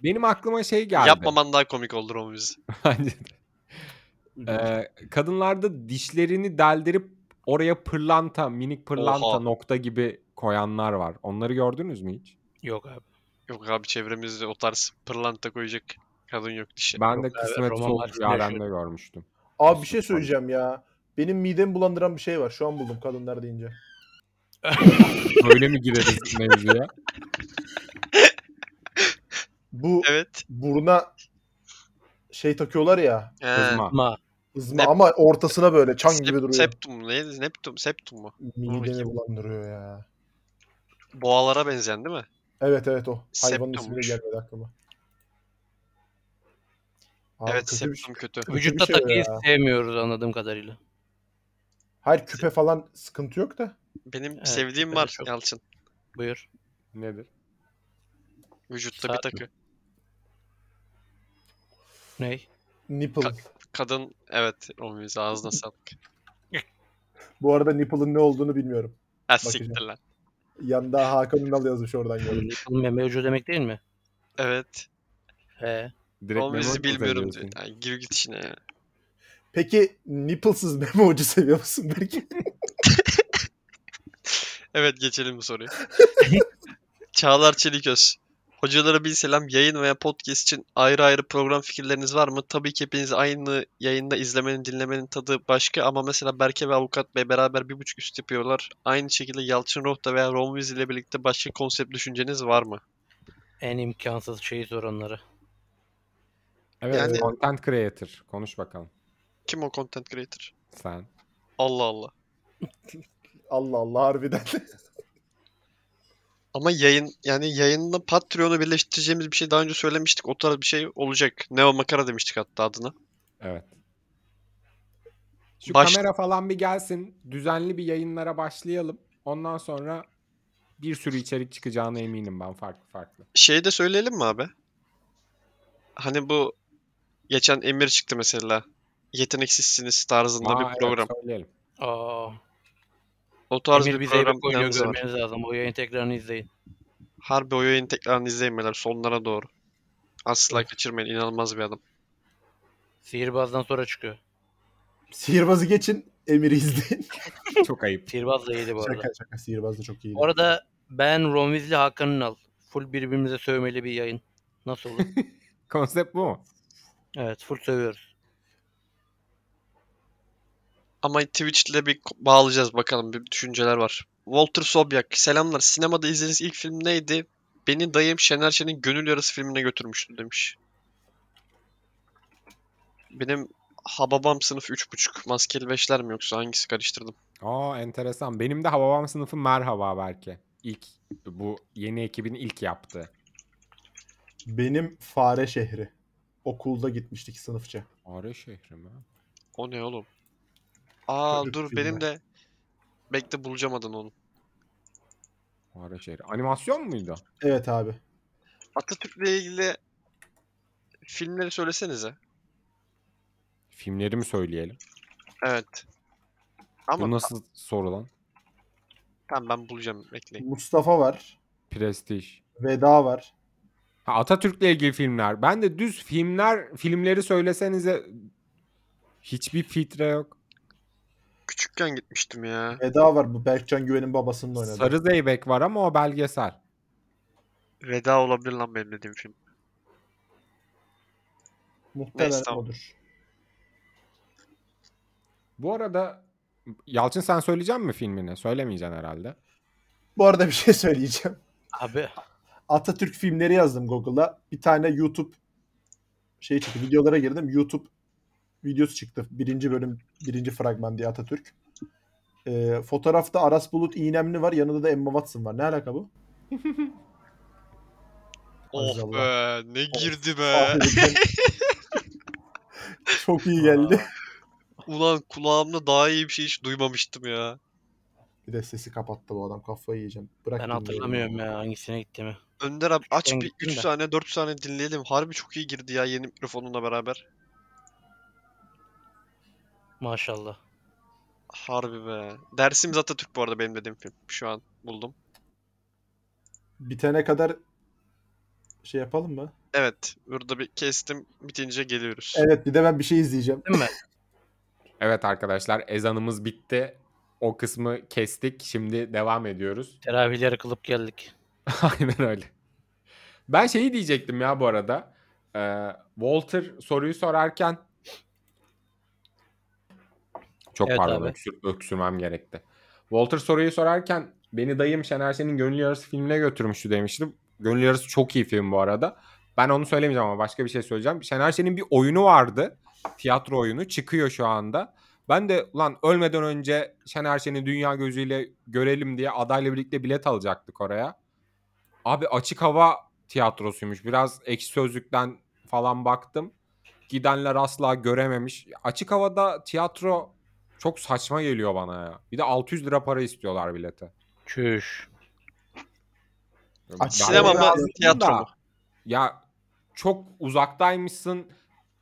Speaker 3: Benim aklıma şey geldi.
Speaker 2: Yapmaman daha komik olur ama bizi.
Speaker 3: Bence de. Ee, kadınlarda dişlerini deldirip oraya pırlanta, minik pırlanta
Speaker 2: Oha.
Speaker 3: nokta gibi koyanlar var. Onları gördünüz mü hiç?
Speaker 4: Yok abi.
Speaker 2: Yok abi çevremizde o tarz pırlanta koyacak kadın Şey, yok dişi.
Speaker 3: Ben de
Speaker 4: evet,
Speaker 3: kısmet
Speaker 4: Roman
Speaker 3: soğuk
Speaker 4: Mersin'de
Speaker 3: yarende
Speaker 4: yaşıyorum.
Speaker 3: görmüştüm.
Speaker 5: Abi bir şey söyleyeceğim ya. Benim midemi bulandıran bir şey var. Şu an buldum kadınlar deyince.
Speaker 3: Böyle mi gireriz mevzuya?
Speaker 5: Bu
Speaker 2: Evet.
Speaker 5: buruna şey takıyorlar ya.
Speaker 2: Ee,
Speaker 3: Kızma.
Speaker 4: Ama
Speaker 5: Hızma
Speaker 2: Nep-
Speaker 5: ama ortasına böyle çan gibi
Speaker 2: sep-
Speaker 5: duruyor.
Speaker 2: Septum neydi? Neptum, septum mu?
Speaker 5: Midemi bulandırıyor ya.
Speaker 2: Boğalara benzeyen değil mi?
Speaker 5: Evet evet o. Hayvanın ismi de
Speaker 2: Septummuş.
Speaker 5: gelmedi aklıma. Abi
Speaker 2: evet,
Speaker 5: kötü
Speaker 2: septum
Speaker 5: bir şey.
Speaker 2: kötü.
Speaker 5: Kötü bir
Speaker 4: vücutta
Speaker 5: şey o
Speaker 4: takıyı
Speaker 5: ya.
Speaker 4: sevmiyoruz anladığım kadarıyla.
Speaker 5: Hayır küpe falan sıkıntı yok da.
Speaker 2: Benim
Speaker 4: Evet,
Speaker 2: sevdiğim
Speaker 4: böyle
Speaker 2: var
Speaker 4: çok-
Speaker 2: Yalçın.
Speaker 4: Buyur.
Speaker 3: Nedir?
Speaker 2: Vücutta bir
Speaker 4: Saat
Speaker 2: takı.
Speaker 4: Ney?
Speaker 5: Nipple.
Speaker 2: Kadın evet Romiz ağzına sağlık.
Speaker 5: Bu arada nipple'ın ne olduğunu bilmiyorum.
Speaker 2: Ha Ah, siktir lan.
Speaker 5: Yanda Hakan Ünal yazmış oradan gördüm.
Speaker 4: Yapılmayan mevcut demek değil mi?
Speaker 2: Evet.
Speaker 4: He.
Speaker 3: Direkt
Speaker 2: Romiz'i
Speaker 3: memoji
Speaker 2: bilmiyorum diyor.
Speaker 3: seviyorsun.
Speaker 2: Ay, gir git işine ya.
Speaker 5: Peki nipple'sız meme ucu seviyor musun belki?
Speaker 2: Evet geçelim bu soruyu. Çağlar Çeliköz. Hocalara bir selam. Yayın veya podcast için ayrı ayrı program fikirleriniz var mı? Tabii ki hepiniz aynı yayında izlemenin, dinlemenin tadı başka ama mesela Berke ve Avukat Bey beraber bir buçuk üst yapıyorlar. Aynı şekilde Yalçın Rohta veya Romviz ile birlikte başka konsept düşünceniz var mı?
Speaker 4: En imkansız şeyi soranlara.
Speaker 3: Evet,
Speaker 2: Yani-
Speaker 3: content creator. Konuş bakalım.
Speaker 2: Kim o content creator?
Speaker 3: Sen.
Speaker 2: Allah Allah.
Speaker 5: Allah Allah harbiden.
Speaker 2: Ama yayın yani yayınla Patreon'u birleştireceğimiz bir şey daha önce söylemiştik. O tarz bir şey olacak. Neo Makara demiştik hatta adına.
Speaker 3: Evet. Şu
Speaker 2: Baş-
Speaker 3: kamera falan bir gelsin. Düzenli bir yayınlara başlayalım. Ondan sonra bir sürü içerik çıkacağına eminim ben farklı farklı.
Speaker 2: Şeyi de söyleyelim mi abi? Hani bu geçen Emir çıktı mesela. Yeteneksizsiniz tarzında
Speaker 3: Aa,
Speaker 2: bir
Speaker 3: evet,
Speaker 2: program.
Speaker 3: söyleyelim.
Speaker 4: Aa,
Speaker 2: O tarz
Speaker 4: Emir
Speaker 2: bir
Speaker 4: bize
Speaker 2: program
Speaker 4: bir oynuyor
Speaker 2: planımız var.
Speaker 4: görmeniz lazım. O yayın tekrarını izleyin.
Speaker 2: Harbi o yayın tekrarını izleyin beyler sonlara doğru. Asla kaçırmayın inanılmaz bir adam.
Speaker 4: Sihirbazdan sonra çıkıyor.
Speaker 5: Sihirbazı geçin Emir'i izleyin.
Speaker 3: Çok ayıp.
Speaker 4: Sihirbaz da iyiydi bu arada.
Speaker 5: şaka şaka sihirbaz da çok iyiydi.
Speaker 4: Bu arada ben Romvizli Hakan Ünal. Full birbirimize sövmeli bir yayın. Nasıl olur?
Speaker 3: Konsept bu mu?
Speaker 4: evet full sövüyoruz.
Speaker 2: Ama Twitch'le bir ko- bağlayacağız bakalım. Bir düşünceler var. Walter Sobyak. Selamlar. Sinemada izlediğiniz ilk film neydi? Beni dayım Şener Şen'in Gönül Yarası filmine götürmüştü demiş. Benim Hababam sınıf 3.5. Maskeli Beşler mi yoksa hangisi karıştırdım?
Speaker 3: Aa enteresan. Benim de Hababam sınıfı merhaba belki. İlk bu yeni ekibin ilk yaptığı.
Speaker 5: Benim fare şehri. Okulda gitmiştik sınıfça.
Speaker 3: Ağrı şehri mi?
Speaker 2: O ne oğlum? Aa
Speaker 5: Gönül
Speaker 2: dur
Speaker 5: filmi.
Speaker 2: benim de bekle bulacağım adını oğlum.
Speaker 3: Ağrı şehri. Animasyon muydu?
Speaker 5: Evet abi.
Speaker 2: Atatürk'le ilgili filmleri söylesenize.
Speaker 3: Filmleri mi söyleyelim?
Speaker 2: Evet. Ama
Speaker 3: Bu nasıl soru lan?
Speaker 2: tamam ben bulacağım bekleyin.
Speaker 5: Mustafa var.
Speaker 3: Prestij.
Speaker 5: Veda var.
Speaker 3: Ha, Atatürk'le ilgili filmler. Ben de düz filmler, filmleri söylesenize hiçbir filtre yok.
Speaker 2: Küçükken gitmiştim ya.
Speaker 5: Veda var bu Berkcan Güven'in babasının oynadığı.
Speaker 3: Sarı Zeybek var ama o belgesel.
Speaker 2: Veda olabilir lan benim dediğim film.
Speaker 5: Muhtemelen
Speaker 2: Neyse, tamam.
Speaker 5: odur.
Speaker 3: Bu arada Yalçın sen söyleyecek mi filmini? Söylemeyeceksin herhalde.
Speaker 5: Bu arada bir şey söyleyeceğim.
Speaker 4: Abi
Speaker 5: Atatürk filmleri yazdım Google'a. Bir tane YouTube şey çıktı. Videolara girdim. YouTube videosu çıktı. Birinci bölüm, birinci fragman diye Atatürk. Ee, fotoğrafta Aras Bulut İynemli var. Yanında da Emma Watson var. Ne alaka bu?
Speaker 2: Oh
Speaker 5: Azallah.
Speaker 2: be ne girdi be.
Speaker 4: Ah.
Speaker 5: Aferin. Ah, Çok iyi geldi.
Speaker 2: Ulan kulağımda daha iyi bir şey hiç duymamıştım ya.
Speaker 5: Bir de sesi kapattı bu adam. Kafayı yiyeceğim. Bırak
Speaker 4: ben
Speaker 5: dinleyelim.
Speaker 4: hatırlamıyorum ya hangisine gittiğimi.
Speaker 2: Önder abi aç
Speaker 4: Ben
Speaker 2: bir
Speaker 4: gittim
Speaker 2: 3
Speaker 4: de.
Speaker 2: saniye 4 saniye dinleyelim. Harbi çok iyi girdi ya yeni mikrofonunla beraber.
Speaker 4: Maşallah.
Speaker 2: Harbi be. Dersimiz Atatürk bu arada benim dediğim film. Şu an buldum.
Speaker 5: Bitene kadar şey yapalım mı?
Speaker 2: Evet. Burada bir kestim. Bitince geliyoruz.
Speaker 5: Evet bir de ben bir şey izleyeceğim.
Speaker 4: Değil mi?
Speaker 3: Evet arkadaşlar ezanımız bitti. O kısmı kestik. Şimdi devam ediyoruz.
Speaker 4: Teravihleri kılıp geldik.
Speaker 3: Aynen öyle. Ben şeyi diyecektim ya bu arada. Ee, Walter soruyu sorarken çok
Speaker 4: Evet
Speaker 3: pardon
Speaker 4: abi.
Speaker 3: öksür- öksürmem gerekti. Walter soruyu sorarken beni dayım Şener Şen'in Gönül Yarısı filmine götürmüştü demişti. Gönül Yarısı çok iyi film bu arada. Ben onu söylemeyeceğim ama başka bir şey söyleyeceğim. Şener Şen'in bir oyunu vardı. Tiyatro oyunu çıkıyor şu anda. Ben de ulan ölmeden önce Şener Şen'i dünya gözüyle görelim diye adayla birlikte bilet alacaktık oraya. Abi açık hava tiyatrosuymuş. Biraz ekşi sözlükten falan baktım. Gidenler asla görememiş. Açık havada tiyatro çok saçma geliyor bana ya. Bir de 600 lira para istiyorlar bilete.
Speaker 4: Çüş.
Speaker 3: Ben-
Speaker 2: Sinema mı
Speaker 5: Bayağı
Speaker 2: tiyatro
Speaker 3: da-
Speaker 2: mu?
Speaker 3: Ya çok uzaktaymışsın.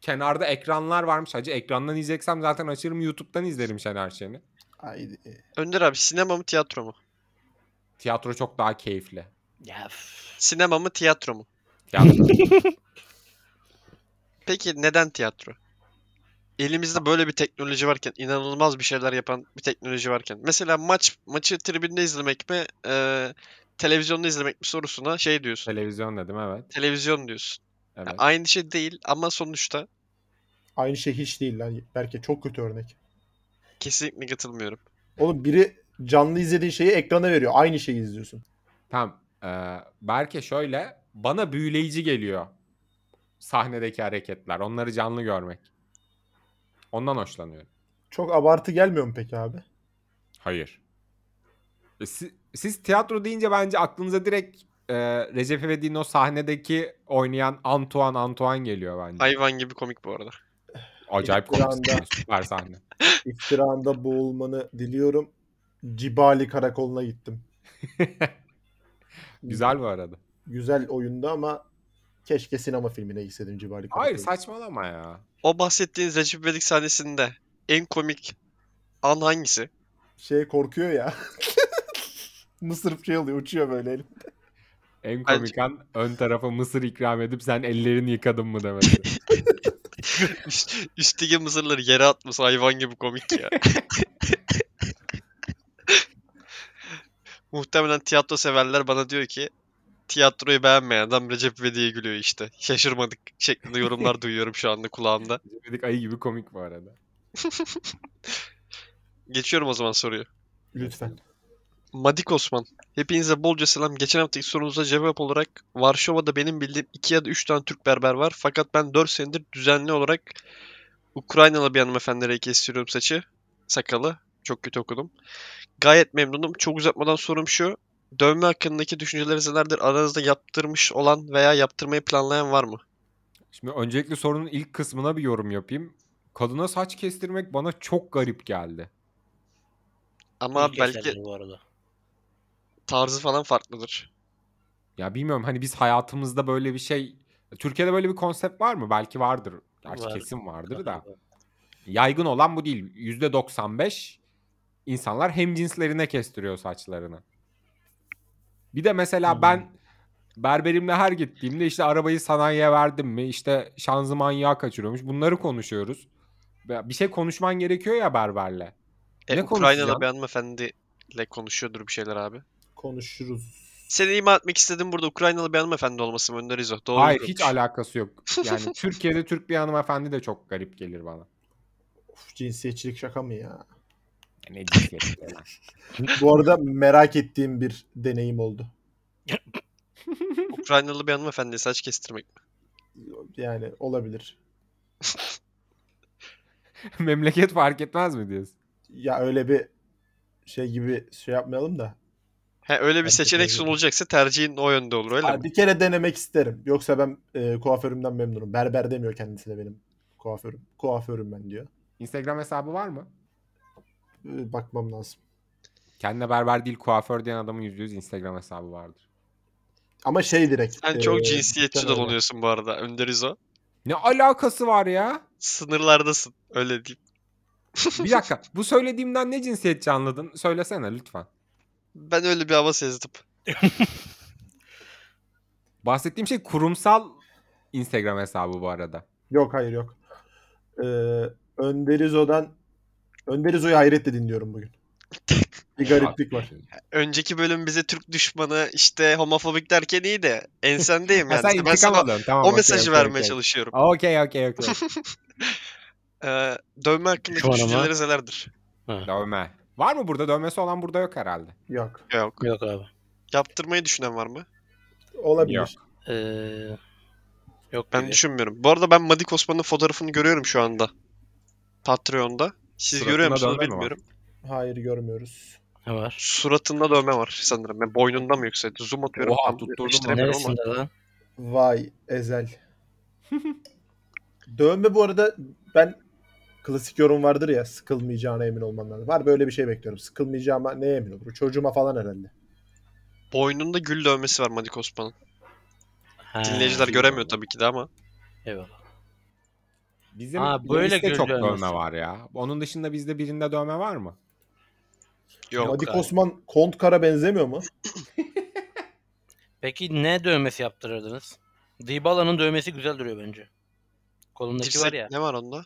Speaker 3: Kenarda ekranlar varmış. Hacı ekrandan izleyeceksem zaten açarım YouTube'dan izlerim Şener Şen'i.
Speaker 5: Haydi.
Speaker 2: Önder abi sinema mı tiyatro mu?
Speaker 3: Tiyatro çok daha keyifli.
Speaker 4: Ya üf.
Speaker 2: Sinema mı tiyatro mu?
Speaker 3: Tiyatro.
Speaker 2: Peki neden tiyatro? Elimizde böyle bir teknoloji varken, inanılmaz bir şeyler yapan bir teknoloji varken. Mesela maç maçı tribünde izlemek mi, eee, televizyonda izlemek mi sorusuna şey diyorsun.
Speaker 3: Televizyon dedim evet.
Speaker 2: Televizyon diyorsun. Ya
Speaker 3: evet.
Speaker 2: aynı şey değil ama sonuçta
Speaker 5: Aynı şey hiç değil lan. Belki çok kötü örnek.
Speaker 2: kesinlikle katılmıyorum.
Speaker 5: Oğlum biri canlı izlediği şeyi ekrana veriyor. Aynı şeyi izliyorsun.
Speaker 3: Tamam. Ee, Berke şöyle bana büyüleyici geliyor sahnedeki hareketler. Onları canlı görmek. Ondan hoşlanıyorum.
Speaker 5: Çok abartı gelmiyor mu peki abi?
Speaker 3: Hayır. E, si- siz, tiyatro deyince bence aklınıza direkt e, Recep İvedik'in o sahnedeki oynayan Antoine Antoine geliyor bence.
Speaker 2: Hayvan gibi komik bu arada.
Speaker 3: Acayip
Speaker 5: Bir
Speaker 3: komik
Speaker 5: anda-
Speaker 3: sahne, süper sahne.
Speaker 5: İftiranda boğulmanı diliyorum. Cibali karakoluna gittim.
Speaker 3: Güzel bu arada.
Speaker 5: Güzel oyunda ama keşke sinema filmine gitseydim Cibali karakoluna.
Speaker 3: Hayır saçmalama ya.
Speaker 2: O bahsettiğiniz Recep İvedik sahnesinde en komik an hangisi?
Speaker 5: Şey korkuyor ya. Mısır şey oluyor uçuyor böyle elim.
Speaker 3: En
Speaker 2: Bence-
Speaker 3: komik an ön tarafa mısır ikram edip sen ellerini yıkadın mı demesi.
Speaker 2: Üst, üstüge mısırları yere atması hayvan gibi komik ya. Muhtemelen tiyatro severler bana diyor ki tiyatroyu beğenmeyen adam Recep İvedik'e gülüyor işte. Şaşırmadık şeklinde yorumlar duyuyorum şu anda kulağımda.
Speaker 3: Recep İvedik ayı gibi komik bu arada.
Speaker 2: Geçiyorum o zaman soruyu.
Speaker 5: Lütfen.
Speaker 2: Madik Osman. Hepinize bolca selam. Geçen haftaki sorunuza cevap olarak Varşova'da benim bildiğim 2 ya da 3 tane Türk berber var. Fakat ben 4 senedir düzenli olarak Ukraynalı bir hanımefendiye kestiriyorum saçı. Sakalı. Çok kötü okudum. Gayet memnunum. Çok uzatmadan sorum şu. Dövme hakkındaki düşünceleriniz nelerdir? Aranızda yaptırmış olan veya yaptırmayı planlayan var mı?
Speaker 3: Şimdi öncelikle sorunun ilk kısmına bir yorum yapayım. Kadına saç kestirmek bana çok garip geldi.
Speaker 2: Ama
Speaker 4: İlk
Speaker 2: belki
Speaker 4: eserleri bu arada.
Speaker 2: tarzı falan farklıdır.
Speaker 3: Ya bilmiyorum hani biz hayatımızda böyle bir şey Türkiye'de böyle bir konsept var mı? Belki vardır. Gerçi
Speaker 4: Var.
Speaker 3: kesin vardır da. Yaygın olan bu değil. %95 insanlar hem cinslerine kestiriyor saçlarını. Bir de mesela
Speaker 4: Hmm.
Speaker 3: ben berberimle her gittiğimde işte arabayı sanayiye verdim mi işte şanzıman yağ kaçırıyormuş bunları konuşuyoruz. Ya Bir şey konuşman gerekiyor ya berberle.
Speaker 2: E,
Speaker 3: Ne konuşacaksın?
Speaker 2: Ukraynalı bir hanımefendiyle konuşuyordur bir şeyler abi.
Speaker 5: Konuşuruz.
Speaker 2: Seni ima etmek istedim burada Ukraynalı bir hanımefendi olması mı Önder İzo? Doğru
Speaker 3: Hayır
Speaker 2: mu?
Speaker 3: hiç alakası yok. Yani Türkiye'de Türk bir hanımefendi de çok garip gelir bana.
Speaker 5: Of, cinsiyetçilik şaka mı ya?
Speaker 3: Ne cinsiyeti lan.
Speaker 5: Bu arada merak ettiğim bir deneyim oldu.
Speaker 2: Ukraynalı bir hanımefendi saç kestirmek.
Speaker 5: Yani olabilir.
Speaker 3: Memleket fark etmez mi diyorsun?
Speaker 5: Ya öyle bir şey gibi şey yapmayalım da.
Speaker 2: He, öyle bir
Speaker 5: Bence
Speaker 2: seçenek
Speaker 5: böyle.
Speaker 2: sunulacaksa tercihin o yönde olur öyle
Speaker 5: Ha,
Speaker 2: mi?
Speaker 5: bir kere denemek isterim. Yoksa ben e, kuaförümden memnunum. Berber demiyor kendisine benim kuaförüm. Kuaförüm ben diyor.
Speaker 3: Instagram hesabı var mı?
Speaker 5: E, bakmam lazım.
Speaker 3: Kendine berber değil kuaför diyen adamın yüzde yüz Instagram hesabı vardır.
Speaker 5: Ama şey direkt.
Speaker 2: Sen
Speaker 5: e,
Speaker 2: çok cinsiyetçi
Speaker 5: cidden öyle.
Speaker 2: dolanıyorsun bu arada Önder İzo.
Speaker 3: Ne alakası var ya?
Speaker 2: Sınırlardasın öyle diyeyim.
Speaker 3: Bir dakika bu söylediğimden ne cinsiyetçi anladın? Söylesene lütfen.
Speaker 2: Ben öyle bir hava sezdim.
Speaker 3: Bahsettiğim şey kurumsal Instagram hesabı bu arada.
Speaker 5: Yok hayır yok. Ee, Önderizo'dan Önderizo'yu hayretle dinliyorum bugün. Bir gariplik var.
Speaker 2: Önceki bölüm bize Türk düşmanı işte homofobik derken iyi de ensendeyim
Speaker 3: Ha,
Speaker 2: yani.
Speaker 3: sen
Speaker 2: İşte ben
Speaker 3: intikam
Speaker 2: sana
Speaker 3: alıyorsun. Tamam,
Speaker 2: o
Speaker 3: okey,
Speaker 2: mesajı
Speaker 3: okey,
Speaker 2: vermeye
Speaker 3: okey.
Speaker 2: çalışıyorum.
Speaker 3: Okey okey okey.
Speaker 2: Ee, dövme hakkındaki
Speaker 4: Şu an ama-
Speaker 2: düşünceleriniz nelerdir?
Speaker 3: Dövme. Var mı burada? Dövmesi olan burada yok herhalde.
Speaker 5: Yok.
Speaker 2: Yok.
Speaker 4: Yok abi.
Speaker 2: Yaptırmayı düşünen var mı?
Speaker 5: Olabilir.
Speaker 3: Yok.
Speaker 4: Ee, yok
Speaker 2: Ben
Speaker 4: gibi.
Speaker 2: düşünmüyorum. Bu arada ben Madik Osman'ın fotoğrafını görüyorum şu anda. Patreon'da. Siz
Speaker 3: Suratında
Speaker 2: görüyor musunuz
Speaker 3: dövme mi var?
Speaker 2: bilmiyorum.
Speaker 5: Hayır görmüyoruz.
Speaker 4: Ne var?
Speaker 2: Suratında dövme var sanırım. Yani boynunda mı yoksa? Zoom atıyorum.
Speaker 3: Oha,
Speaker 2: tam
Speaker 3: tutturdum lan.
Speaker 2: yetiştiremiyorum ama.
Speaker 4: Neresinde lan?
Speaker 5: Vay ezel. Dövme bu arada ben klasik yorum vardır ya sıkılmayacağına emin olman lazım. Var böyle bir şey bekliyorum. Sıkılmayacağıma neye emin olurum? Çocuğuma falan herhalde.
Speaker 2: Boynunda gül dövmesi var Madik Osman'ın.
Speaker 4: Ha,
Speaker 2: Dinleyiciler
Speaker 3: gül
Speaker 2: göremiyor
Speaker 3: dövme.
Speaker 2: tabii ki de ama.
Speaker 4: Eyvallah.
Speaker 3: Bizim
Speaker 4: Ha, böyle
Speaker 3: böyle çok
Speaker 4: görülen
Speaker 3: dövme
Speaker 4: mesela.
Speaker 3: var ya. Onun dışında bizde birinde dövme var mı?
Speaker 2: Yok.
Speaker 5: Hadi
Speaker 2: abi.
Speaker 5: Osman Kont Kara benzemiyor mu?
Speaker 4: Peki ne dövmesi yaptırırdınız? Dybala'nın dövmesi güzel duruyor bence. Kolundaki
Speaker 2: Dipsek
Speaker 4: var ya.
Speaker 2: ne var onda?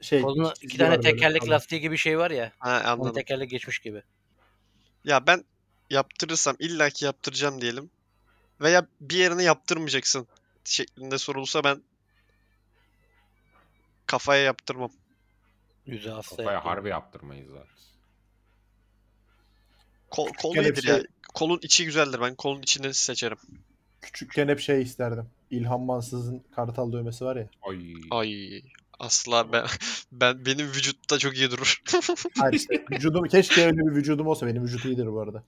Speaker 5: Şey,
Speaker 4: Koluna iki
Speaker 5: çizgi
Speaker 4: tane
Speaker 5: var böyle.
Speaker 4: tekerlek
Speaker 5: Anladım.
Speaker 4: lastiği gibi şey var ya.
Speaker 2: Ha
Speaker 4: Onun
Speaker 2: anladım.
Speaker 4: tekerlek geçmiş gibi.
Speaker 2: Ya ben yaptırırsam illaki yaptıracağım diyelim. Veya bir yerine yaptırmayacaksın şeklinde sorulsa ben kafaya yaptırmam.
Speaker 4: Yüzü hasta
Speaker 3: Kafaya
Speaker 4: yaptı.
Speaker 3: harbi yaptırmayız zaten.
Speaker 2: Kol, kol
Speaker 5: Gene bir
Speaker 2: iyidir
Speaker 5: şey-
Speaker 2: ya. Kolun içi güzeldir. Ben kolun içini seçerim.
Speaker 5: Küçükken hep şey isterdim. İlhan Mansız'ın kartal dövmesi var ya.
Speaker 3: Ay.
Speaker 2: Ay asla ben ben benim vücutta çok iyi durur.
Speaker 5: Hayır işte vücudum keşke öyle bir vücudum olsa benim vücut iyidir bu arada.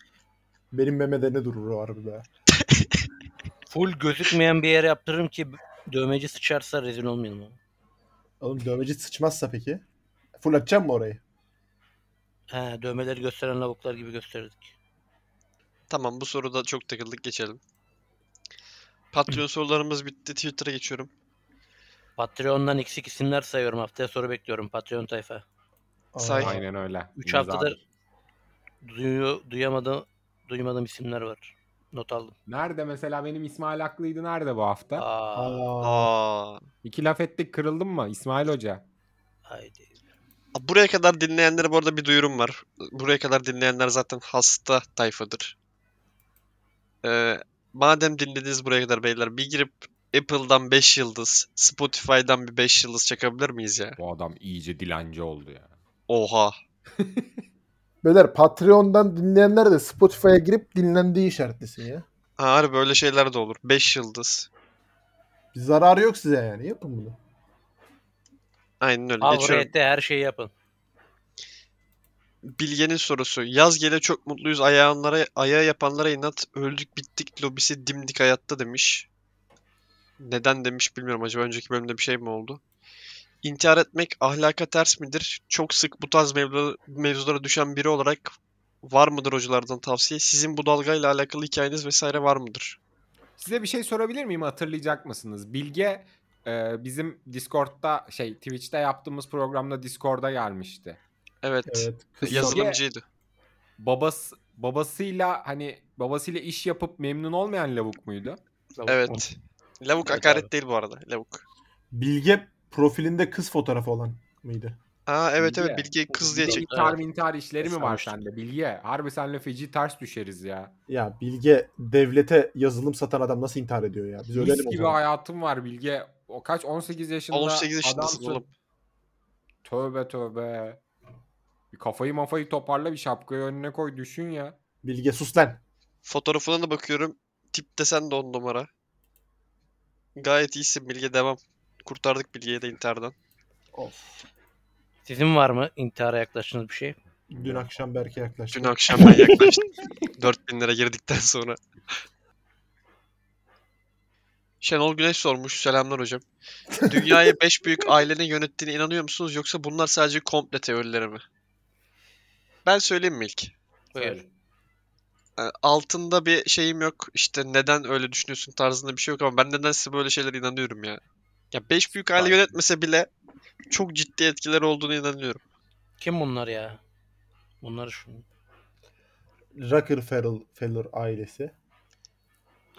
Speaker 5: Benim memede ne durur o harbi be.
Speaker 4: Full gözükmeyen bir yere yaptırırım ki dövmeci sıçarsa rezil olmayalım. abi.
Speaker 5: Oğlum dövmeci sıçmazsa peki? Full açacağım mı orayı?
Speaker 4: He, dövmeleri gösteren lavuklar gibi gösterirdik.
Speaker 2: Tamam bu soruda çok takıldık geçelim. Patreon sorularımız bitti. Twitter'a geçiyorum.
Speaker 4: Patreon'dan eksik isimler sayıyorum. Haftaya soru bekliyorum. Patreon tayfa.
Speaker 5: Aa,
Speaker 2: Say.
Speaker 3: Aynen öyle.
Speaker 4: Üç
Speaker 3: İmza
Speaker 4: haftadır-
Speaker 3: abi.
Speaker 4: Duyu, duyamadım, duymadığım isimler var. Not aldım.
Speaker 3: Nerede mesela benim İsmail Aklı'ydı nerede bu hafta?
Speaker 4: Aa,
Speaker 5: Aa,
Speaker 2: Aa.
Speaker 3: İki laf ettik kırıldın mı İsmail Hoca?
Speaker 4: haydi.
Speaker 2: Buraya kadar dinleyenlere bu arada bir duyurum var. Buraya kadar dinleyenler zaten hasta tayfadır. Ee, madem dinlediniz buraya kadar beyler bir girip Apple'dan 5 yıldız, Spotify'dan bir 5 yıldız çakabilir miyiz ya?
Speaker 3: Bu adam iyice dilenci oldu ya.
Speaker 2: Oha.
Speaker 5: Beyler Patreon'dan dinleyenler de Spotify'a girip dinlendiği işaretlesin ya.
Speaker 2: Ha, harbi böyle şeyler de olur. 5 yıldız.
Speaker 5: Bir zararı yok size yani. Yapın bunu.
Speaker 2: Aynen öyle. Geçiyorum.
Speaker 4: Avrete her şeyi yapın.
Speaker 2: Bilge'nin sorusu. Yaz gele çok mutluyuz. Ayağınlara, ayağı yapanlara inat. Öldük bittik lobisi dimdik hayatta demiş. Neden demiş bilmiyorum. Acaba önceki bölümde bir şey mi oldu? İntihar etmek ahlaka ters midir? Çok sık bu tarz mevzu- mevzulara düşen biri olarak var mıdır hocalardan tavsiye? Sizin bu dalgayla alakalı hikayeniz vesaire var mıdır?
Speaker 3: Size bir şey sorabilir miyim? Hatırlayacak mısınız? Bilge e, bizim Discord'da şey Twitch'te yaptığımız programda Discord'a gelmişti.
Speaker 2: Evet.
Speaker 5: Kız
Speaker 2: Yazılımcıydı.
Speaker 3: Babası babasıyla hani babasıyla iş yapıp memnun olmayan lavuk muydu?
Speaker 2: Evet. Lavuk
Speaker 5: Evet
Speaker 2: hakaret değil bu arada. Lavuk.
Speaker 5: Bilge profilinde kız fotoğrafı olan mıydı?
Speaker 2: Aa evet
Speaker 3: Bilge.
Speaker 2: evet Bilge kız diye çek.
Speaker 3: İntihar intihar işleri mi var
Speaker 4: Sanmıştım.
Speaker 3: sende Bilge? Harbi senle feci ters düşeriz ya.
Speaker 5: Ya Bilge devlete yazılım satan adam nasıl intihar ediyor ya? Biz ölelim
Speaker 3: Mis
Speaker 5: o
Speaker 3: gibi
Speaker 5: zaman.
Speaker 3: hayatım var Bilge. O kaç 18 yaşında
Speaker 2: 18 yaşındasın
Speaker 3: adamsın.
Speaker 2: oğlum.
Speaker 3: Tövbe tövbe. Bir kafayı mafayı toparla bir şapkayı önüne koy düşün ya.
Speaker 5: Bilge sus lan.
Speaker 2: Fotoğrafına da bakıyorum. Tip desen de on numara. Gayet iyisin Bilge devam. Kurtardık Bilge'yi de interden.
Speaker 4: Sizin var mı intihara yaklaştığınız bir şey?
Speaker 5: Dün akşam Berke yaklaştı.
Speaker 2: Dün akşam ben yaklaştım. 4000 lira girdikten sonra. Şenol Güneş sormuş. Selamlar hocam. Dünyayı 5 büyük ailenin yönettiğine inanıyor musunuz yoksa bunlar sadece komple teorileri mi? Ben söyleyeyim mi ilk?
Speaker 4: Buyur.
Speaker 2: E, altında bir şeyim yok. İşte neden öyle düşünüyorsun tarzında bir şey yok ama ben nedense böyle şeylere inanıyorum ya. Ya beş büyük aile
Speaker 3: Süper.
Speaker 2: yönetmese bile çok ciddi etkileri olduğunu inanıyorum.
Speaker 4: Kim bunlar ya? Bunları şu.
Speaker 5: Rockefeller Feller ailesi.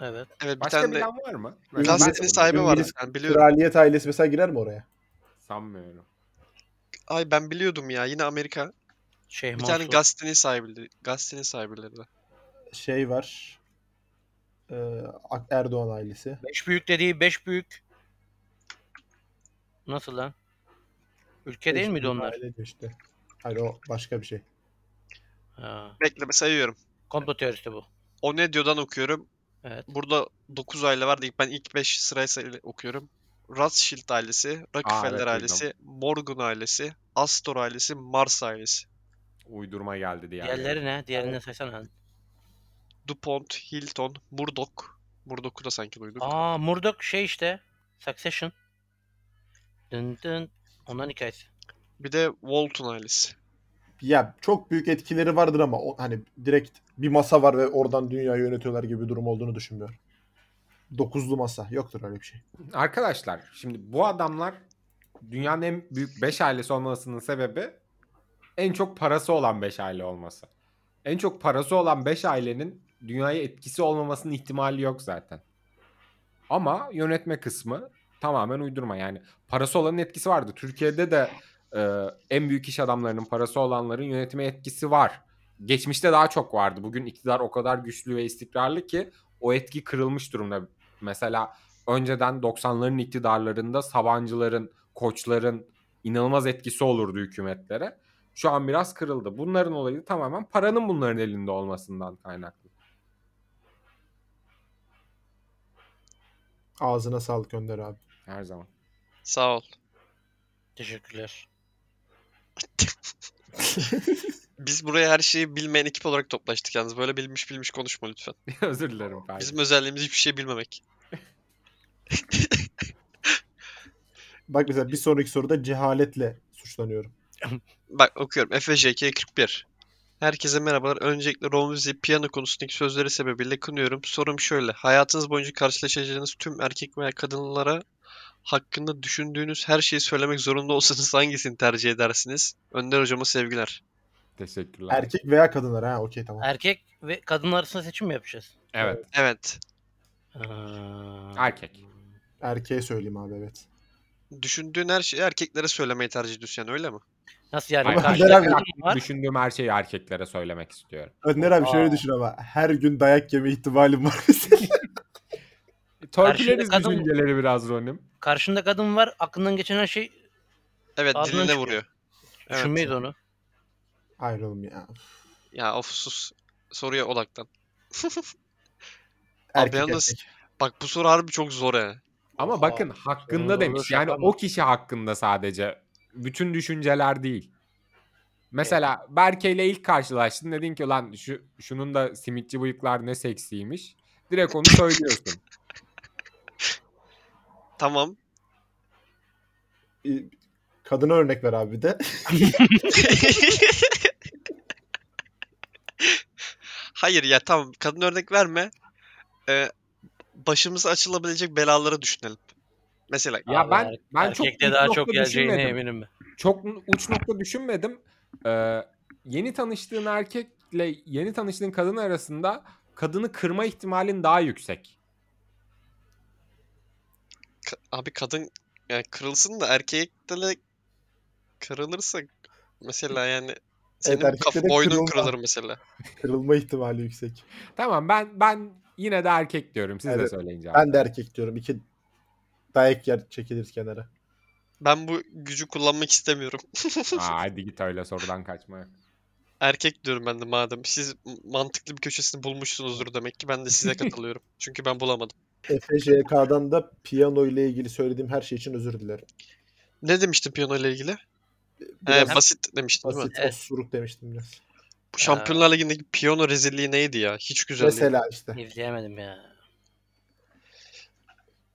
Speaker 4: Evet.
Speaker 2: Evet bir
Speaker 3: Başka
Speaker 2: tane de
Speaker 3: bilen var mı? Mesela ben
Speaker 2: gazetenin sahibi var.
Speaker 5: İngiliz
Speaker 2: Ben biliyorum.
Speaker 5: Kraliyet ailesi mesela girer mi oraya?
Speaker 3: sanmıyorum.
Speaker 2: Ay ben biliyordum ya. Yine Amerika.
Speaker 4: Şeyh
Speaker 2: Bir tane
Speaker 4: Mansur.
Speaker 2: gazetenin sahibi. Gazetenin sahipleri de.
Speaker 5: Şey var. Ee, Erdoğan ailesi.
Speaker 4: Beş büyük dediği beş büyük. Nasıl lan? Ülke değil
Speaker 5: Beş
Speaker 4: miydi
Speaker 5: büyük
Speaker 4: onlar?
Speaker 5: aile diyor işte. Hayır o başka bir şey.
Speaker 4: Ha.
Speaker 2: Bekle sayıyorum.
Speaker 4: Komplo teorisi bu.
Speaker 2: O ne diyordan okuyorum.
Speaker 4: Evet.
Speaker 2: Burada 9 aile var. Ben ilk 5 sırayla okuyorum. Rothschild ailesi, Rockefeller
Speaker 3: duydum.
Speaker 2: ailesi, Morgan ailesi, Astor ailesi, Mars ailesi.
Speaker 3: Uydurma geldi diye.
Speaker 4: Diğerleri ne? Diğerini de saysana.
Speaker 2: DuPont, Hilton, Murdoch. Murdoch'u da sanki duyduk.
Speaker 4: Aa Murdoch şey işte. Succession. Dın dın. Onların hikayesi.
Speaker 2: Bir de Walton ailesi.
Speaker 5: Ya çok büyük etkileri vardır ama o, hani direkt bir masa var ve oradan dünyayı yönetiyorlar gibi bir durum olduğunu düşünmüyorum. Dokuzlu masa. Yoktur öyle bir şey.
Speaker 3: Arkadaşlar şimdi bu adamlar dünyanın en büyük 5 ailesi olmasının sebebi en çok parası olan 5 aile olması. En çok parası olan 5 ailenin dünyaya etkisi olmamasının ihtimali yok zaten. Ama yönetme kısmı tamamen uydurma. Yani parası olanın etkisi vardı. Türkiye'de de e, en büyük iş adamlarının parası olanların yönetime etkisi var. Geçmişte daha çok vardı. Bugün iktidar o kadar güçlü ve istikrarlı ki o etki kırılmış durumda. Mesela önceden 90'ların iktidarlarında Sabancıların, Koçların inanılmaz etkisi olurdu hükümetlere. Şu an biraz kırıldı. Bunların olayı tamamen paranın bunların elinde olmasından kaynaklı.
Speaker 5: Ağzına sağlık Önder abi.
Speaker 3: Her zaman.
Speaker 2: Sağ ol.
Speaker 4: Teşekkürler.
Speaker 2: Biz buraya her şeyi bilmeyen ekip olarak toplaştık yalnız. Böyle bilmiş bilmiş konuşma lütfen.
Speaker 3: Özür dilerim. Ferdi.
Speaker 2: Bizim özelliğimiz hiçbir şey bilmemek.
Speaker 5: Bak mesela bir sonraki soruda cehaletle suçlanıyorum.
Speaker 2: Bak okuyorum. FJK 41. Herkese merhabalar. Öncelikle Romvizi piyano konusundaki sözleri sebebiyle kınıyorum. Sorum şöyle. Hayatınız boyunca karşılaşacağınız tüm erkek veya kadınlara hakkında düşündüğünüz her şeyi söylemek zorunda olsanız hangisini tercih edersiniz? Önder hocama sevgiler.
Speaker 3: Teşekkürler.
Speaker 5: Erkek veya kadınlar ha okey tamam.
Speaker 4: Erkek ve kadın arasında seçim mi yapacağız?
Speaker 3: evet.
Speaker 2: Evet.
Speaker 4: Aa.
Speaker 3: Erkek.
Speaker 5: Erkeğe söyleyeyim abi evet.
Speaker 2: Düşündüğün her şeyi erkeklere söylemeyi tercih ediyorsun yani öyle mi?
Speaker 4: Nasıl yani?
Speaker 3: Ama
Speaker 4: Karşıda
Speaker 5: Önder abi-
Speaker 4: kadın var.
Speaker 3: Düşündüğüm her şeyi erkeklere söylemek istiyorum.
Speaker 5: Önder abi şöyle
Speaker 4: Aa.
Speaker 5: düşün ama her gün dayak yeme ihtimalim var.
Speaker 3: Törpüleriz
Speaker 4: kadın-
Speaker 3: düşünceleri biraz Ronim.
Speaker 4: Karşında kadın var. Aklından geçen her şey
Speaker 2: Evet
Speaker 4: Ağzından
Speaker 2: diline
Speaker 4: çıkıyor.
Speaker 2: vuruyor. Evet.
Speaker 4: düşünmeyiz onu.
Speaker 5: Hayır oğlum ya.
Speaker 2: Ya of sus. Soruya odaklan.
Speaker 5: Erkek
Speaker 2: yalnız-
Speaker 5: erkek.
Speaker 2: Bak bu soru harbi çok zor he.
Speaker 3: Ama
Speaker 4: Oha,
Speaker 3: bakın
Speaker 4: sonunda şey
Speaker 3: hakkında
Speaker 4: böyle
Speaker 3: demiş. Yani
Speaker 4: şaka mı?
Speaker 3: o kişi hakkında sadece. Bütün düşünceler değil. Mesela Berke ile ilk karşılaştın. Dedin ki lan şu, şunun da simitçi bıyıklar ne seksiymiş. Direkt onu söylüyorsun.
Speaker 2: Tamam.
Speaker 5: Ee, Kadına örnek ver abi bir de.
Speaker 2: Hayır ya tamam kadın örnek verme. Ee, başımıza açılabilecek belaları düşünelim. Mesela
Speaker 3: ya ben
Speaker 4: Abi, er-,
Speaker 3: ben çok
Speaker 4: Erkekte
Speaker 3: uç
Speaker 4: daha
Speaker 3: nokta
Speaker 4: çok geleceğine
Speaker 3: düşünmedim.
Speaker 4: eminim ben.
Speaker 3: Çok uç nokta düşünmedim. Ee, yeni tanıştığın erkekle yeni tanıştığın kadın arasında kadını kırma ihtimalin daha yüksek.
Speaker 2: ka- abi kadın yani kırılsın da erkekte de kırılırsa mesela yani senin
Speaker 5: erkekte
Speaker 2: kaf-
Speaker 5: de
Speaker 2: boynun
Speaker 5: kırılma.
Speaker 2: kırılır mesela.
Speaker 5: Kırılma ihtimali yüksek.
Speaker 3: Tamam ben ben yine de erkek diyorum. Siz de
Speaker 5: Evet.
Speaker 3: söyleyince.
Speaker 5: Ben de erkek diyorum. İki dayak yer çekilir kenara.
Speaker 2: Ben bu gücü kullanmak istemiyorum.
Speaker 3: Aa, hadi git öyle sorudan kaçmaya.
Speaker 2: Erkek diyorum ben de madem. Siz m- mantıklı bir köşesini bulmuşsunuzdur demek ki ben de size katılıyorum. Çünkü ben bulamadım.
Speaker 5: Efe JK'dan da piyano ile ilgili söylediğim her şey için özür dilerim.
Speaker 2: Ne demiştin piyano ile ilgili? Ee,
Speaker 5: Biraz
Speaker 2: basit demiştin değil mi?
Speaker 5: basit,
Speaker 4: Evet.
Speaker 5: osuruk demiştim biraz.
Speaker 2: Bu Şampiyonlar Ligi'ndeki piyano rezilliği neydi ya? Hiç güzel değil.
Speaker 5: Mesela işte.
Speaker 4: İzleyemedim ya.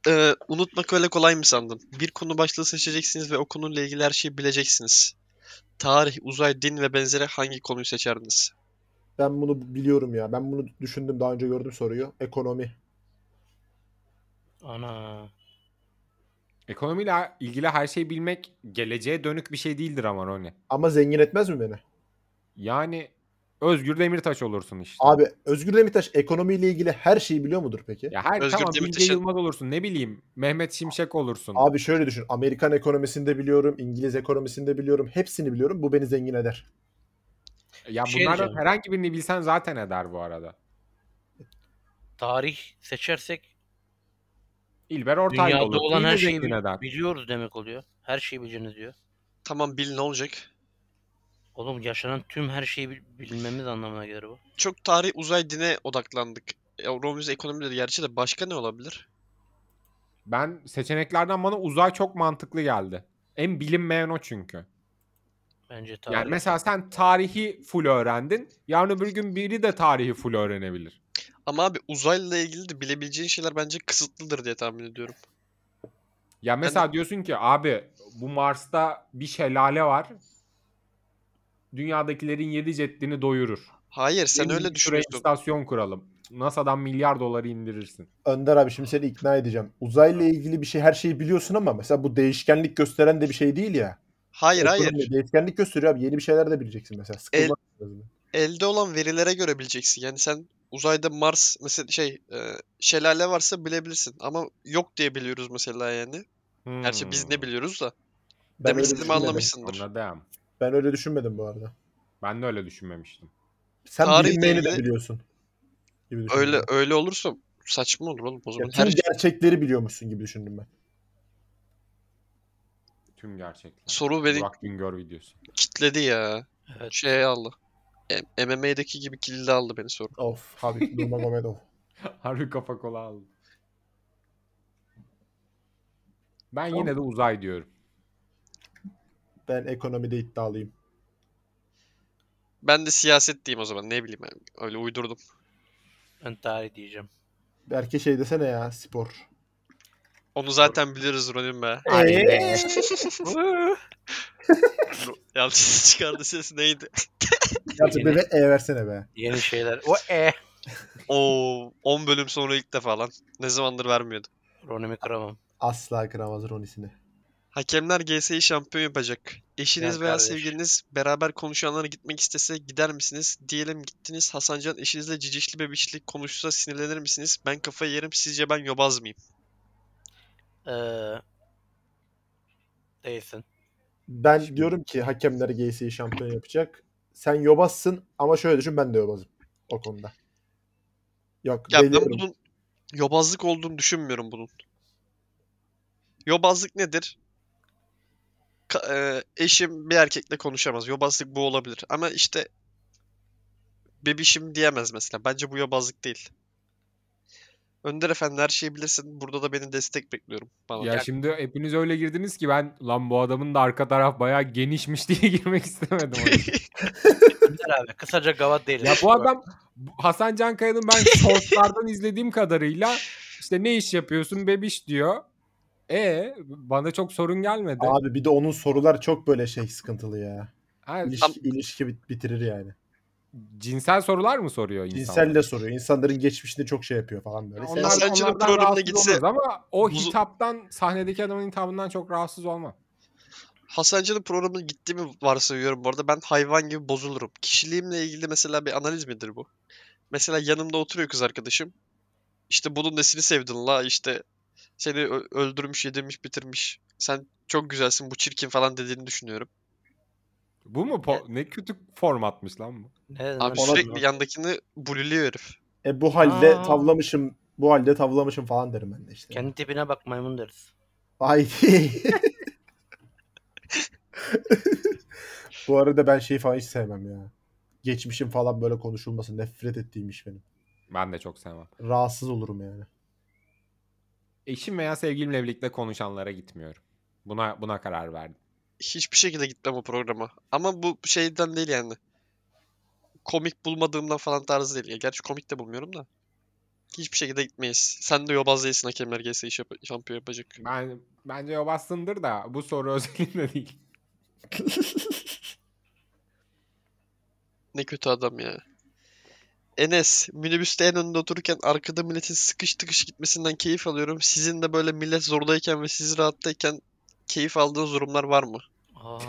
Speaker 2: Ee, unutmak öyle kolay mı sandın? Bir konu başlığı seçeceksiniz ve o konuyla ilgili her şeyi bileceksiniz. Tarih, uzay, din ve benzeri hangi konuyu seçerdiniz?
Speaker 5: Ben bunu biliyorum ya. Ben bunu düşündüm daha önce gördüm soruyu. Ekonomi.
Speaker 4: Ana.
Speaker 3: Ekonomiyle ilgili her şeyi bilmek geleceğe dönük bir şey değildir ama Roni.
Speaker 5: Ama zengin etmez mi beni?
Speaker 3: Yani Özgür Demirtaş olursun işte.
Speaker 5: Abi Özgür Demirtaş ekonomiyle ilgili her şeyi biliyor mudur peki?
Speaker 3: ya her
Speaker 2: Özgür
Speaker 3: tamam Bilge
Speaker 2: Demirtaş'ın-
Speaker 3: Yılmaz olursun ne bileyim Mehmet Şimşek olursun.
Speaker 5: Abi şöyle düşün. Amerikan ekonomisini de biliyorum. İngiliz ekonomisini de biliyorum. Hepsini biliyorum. Bu beni zengin eder.
Speaker 3: ya
Speaker 4: Bir şey
Speaker 3: bunlardan
Speaker 4: diyeceğim.
Speaker 3: herhangi birini bilsen zaten eder bu arada.
Speaker 4: Tarih seçersek
Speaker 3: İlber Ortaylı
Speaker 4: dünyada
Speaker 3: olur.
Speaker 4: olan
Speaker 3: Yine
Speaker 4: her şey şeyi
Speaker 3: zengin eder.
Speaker 4: biliyoruz demek oluyor. Her şeyi bileceğiniz diyor.
Speaker 2: Tamam bil ne olacak?
Speaker 4: Oğlum yaşanan tüm her şeyi bil- bilmemiz anlamına gelir bu.
Speaker 2: Çok tarih, uzay, dine odaklandık. Ya, Romulus ekonomi dedi gerçi de başka ne olabilir?
Speaker 3: Ben seçeneklerden bana uzay çok mantıklı geldi. En bilinmeyen o çünkü.
Speaker 4: Bence tarih.
Speaker 3: Yani mesela sen tarihi full öğrendin. Yarın öbür gün biri de tarihi full öğrenebilir.
Speaker 2: Ama abi uzayla ilgili de bilebileceğin şeyler bence kısıtlıdır diye tahmin ediyorum.
Speaker 3: Ya mesela diyorsun ki abi bu Mars'ta bir şelale var. Dünyadakilerin 7 ceddini doyurur.
Speaker 2: Hayır sen
Speaker 3: Benim
Speaker 2: öyle
Speaker 3: bir şuraya
Speaker 2: düşünüyorsun.
Speaker 3: istasyon kuralım. NASA'dan milyar doları indirirsin.
Speaker 5: Önder abi şimdi seni ikna edeceğim. Uzayla ilgili bir şey her şeyi biliyorsun ama mesela bu değişkenlik gösteren de bir şey değil ya.
Speaker 2: Hayır hayır.
Speaker 5: Ekonomi Değişkenlik gösteriyor abi. Yeni bir şeyler de bileceksin mesela. Sıkılmaz. lazım.
Speaker 2: elde olan verilere göre bileceksin. Yani sen uzayda Mars mesela şey e, şelale varsa bilebilirsin ama yok diye biliyoruz mesela yani. Gerçi biz ne
Speaker 3: Hmm,
Speaker 2: biliyoruz da.
Speaker 5: Ben
Speaker 2: Demek
Speaker 5: öyle
Speaker 2: istediğimi
Speaker 5: düşünmedim.
Speaker 2: anlamışsındır.
Speaker 3: Anladım.
Speaker 5: Ben öyle düşünmedim bu arada.
Speaker 3: Ben de öyle düşünmemiştim.
Speaker 5: Sen
Speaker 2: Tarihle
Speaker 5: bilinmeyeni de
Speaker 2: ilgili-
Speaker 5: biliyorsun. Gibi düşündüm
Speaker 2: Öyle
Speaker 5: ben.
Speaker 2: öyle olursa saçma olur oğlum o
Speaker 5: Ya
Speaker 2: zaman.
Speaker 5: tüm
Speaker 2: Her şey-
Speaker 5: gerçekleri biliyormuşsun gibi düşündüm ben.
Speaker 3: Tüm gerçekler.
Speaker 2: soru beni
Speaker 3: Burak Güngör videosu.
Speaker 2: kitledi ya.
Speaker 4: Evet.
Speaker 2: Şey aldı. E, MMA'deki gibi kilidi aldı beni soru.
Speaker 5: Of Habib Nurmagomedov.
Speaker 3: Harbi kafa kola aldı. Ben yine de uzay diyorum.
Speaker 5: Ben ekonomide iddialıyım.
Speaker 2: Ben de siyaset diyeyim o zaman ne bileyim ben öyle uydurdum.
Speaker 4: Ben tarih diyeceğim.
Speaker 5: Belki şey desene ya spor.
Speaker 2: Onu zaten biliriz Ronin be.
Speaker 4: Ee?
Speaker 5: Eee?
Speaker 2: Yanlış çıkardı ses neydi?
Speaker 5: Gerçi bir de e versene be.
Speaker 4: Yeni şeyler. O e.
Speaker 2: Oo 10 bölüm sonra ilk defa lan. Ne zamandır vermiyordu.
Speaker 4: Ronimi kıramam.
Speaker 5: Asla kıramaz Ronisini.
Speaker 2: Hakemler GS'yi şampiyon yapacak. Eşiniz
Speaker 4: Ya
Speaker 2: veya
Speaker 4: kardeş.
Speaker 2: sevgiliniz beraber konuşanlara gitmek istese gider misiniz? Diyelim gittiniz. Hasancan eşinizle cicişli bebişli konuşsa sinirlenir misiniz? Ben kafayı yerim. Sizce ben yobaz mıyım?
Speaker 4: Ee, değilsin.
Speaker 5: Ben diyorum ki hakemler GS'yi şampiyon yapacak. Sen yobazsın ama şöyle düşün ben de yobazım o konuda. Yok
Speaker 2: Ya ben
Speaker 5: deliyorum.
Speaker 2: bunun yobazlık olduğunu düşünmüyorum bunun. Yobazlık nedir? ka- e, eşim bir erkekle konuşamaz. Yobazlık bu olabilir. Ama işte bebişim diyemez mesela. Bence bu yobazlık değil. Önder Efendi her şeyi bilirsin. Burada da beni destek bekliyorum. Bana.
Speaker 3: Ya şimdi hepiniz öyle girdiniz ki ben lan bu adamın da arka taraf bayağı genişmiş diye girmek istemedim. o yüzden.
Speaker 4: Önder abi kısaca gavat değiliz.
Speaker 3: ya bu adam bu- Hasan Can Kaya'nın ben shortlardan izlediğim kadarıyla işte ne iş yapıyorsun bebiş diyor. E bana çok sorun gelmedi.
Speaker 5: Abi bir de onun sorular çok böyle şey sıkıntılı ya.
Speaker 3: Ha,
Speaker 2: Tam-
Speaker 5: İlişki, ilişki bit- bitirir yani.
Speaker 3: cinsel sorular mı soruyor insan?
Speaker 5: Cinsel de soruyor. İnsanların geçmişinde çok şey yapıyor falan böyle.
Speaker 3: Onlar,
Speaker 5: Sen-
Speaker 2: Hasancı'nın
Speaker 3: onlardan
Speaker 2: programına
Speaker 3: rahatsız
Speaker 2: gitse-
Speaker 3: oluruz ama o
Speaker 2: Buzu-
Speaker 3: hitaptan sahnedeki adamın hitabından çok rahatsız olmam.
Speaker 2: Hasancı'nın programına gittiğimi varsayıyorum bu arada. Ben hayvan gibi bozulurum. Kişiliğimle ilgili mesela bir analiz midir bu? Mesela yanımda oturuyor kız arkadaşım. İşte bunun nesini sevdin la işte seni ö- öldürmüş, yedirmiş, bitirmiş. Sen çok güzelsin bu çirkin falan dediğini düşünüyorum.
Speaker 3: Bu mu? po- ne kötü formatmış lan bu.
Speaker 4: Ne- ne-
Speaker 2: Abi
Speaker 5: Ona-
Speaker 2: sürekli yandakini bulülüyor herif.
Speaker 5: E bu halde
Speaker 4: Aa.
Speaker 5: tavlamışım, bu halde tavlamışım falan derim ben de işte.
Speaker 4: Kendi tipine bak maymun deriz.
Speaker 5: Haydi. bu arada ben şeyi falan hiç sevmem ya. Geçmişim falan böyle konuşulması nefret ettiğim iş benim.
Speaker 3: Ben de çok sevmem.
Speaker 5: Rahatsız olurum yani.
Speaker 3: Eşim veya sevgilimle birlikte konuşanlara gitmiyorum. Buna buna karar verdim.
Speaker 2: hiçbir şekilde gitmem o programa. Ama bu şeyden değil yani. Komik bulmadığımdan falan tarzı değil. Ya gerçi komik de bulmuyorum da. Hiçbir şekilde gitmeyiz. Sen de yobaz değilsin hakemler gelse iş yap şampiyon yapacak.
Speaker 3: Ben bence o bastındır da bu soru özelinde değil.
Speaker 2: Ne kötü adam ya. Enes, minibüste en önde otururken arkada milletin sıkış tıkış gitmesinden keyif alıyorum. Sizin de böyle millet zordayken ve siz rahattayken keyif aldığınız durumlar var mı?
Speaker 4: Aa,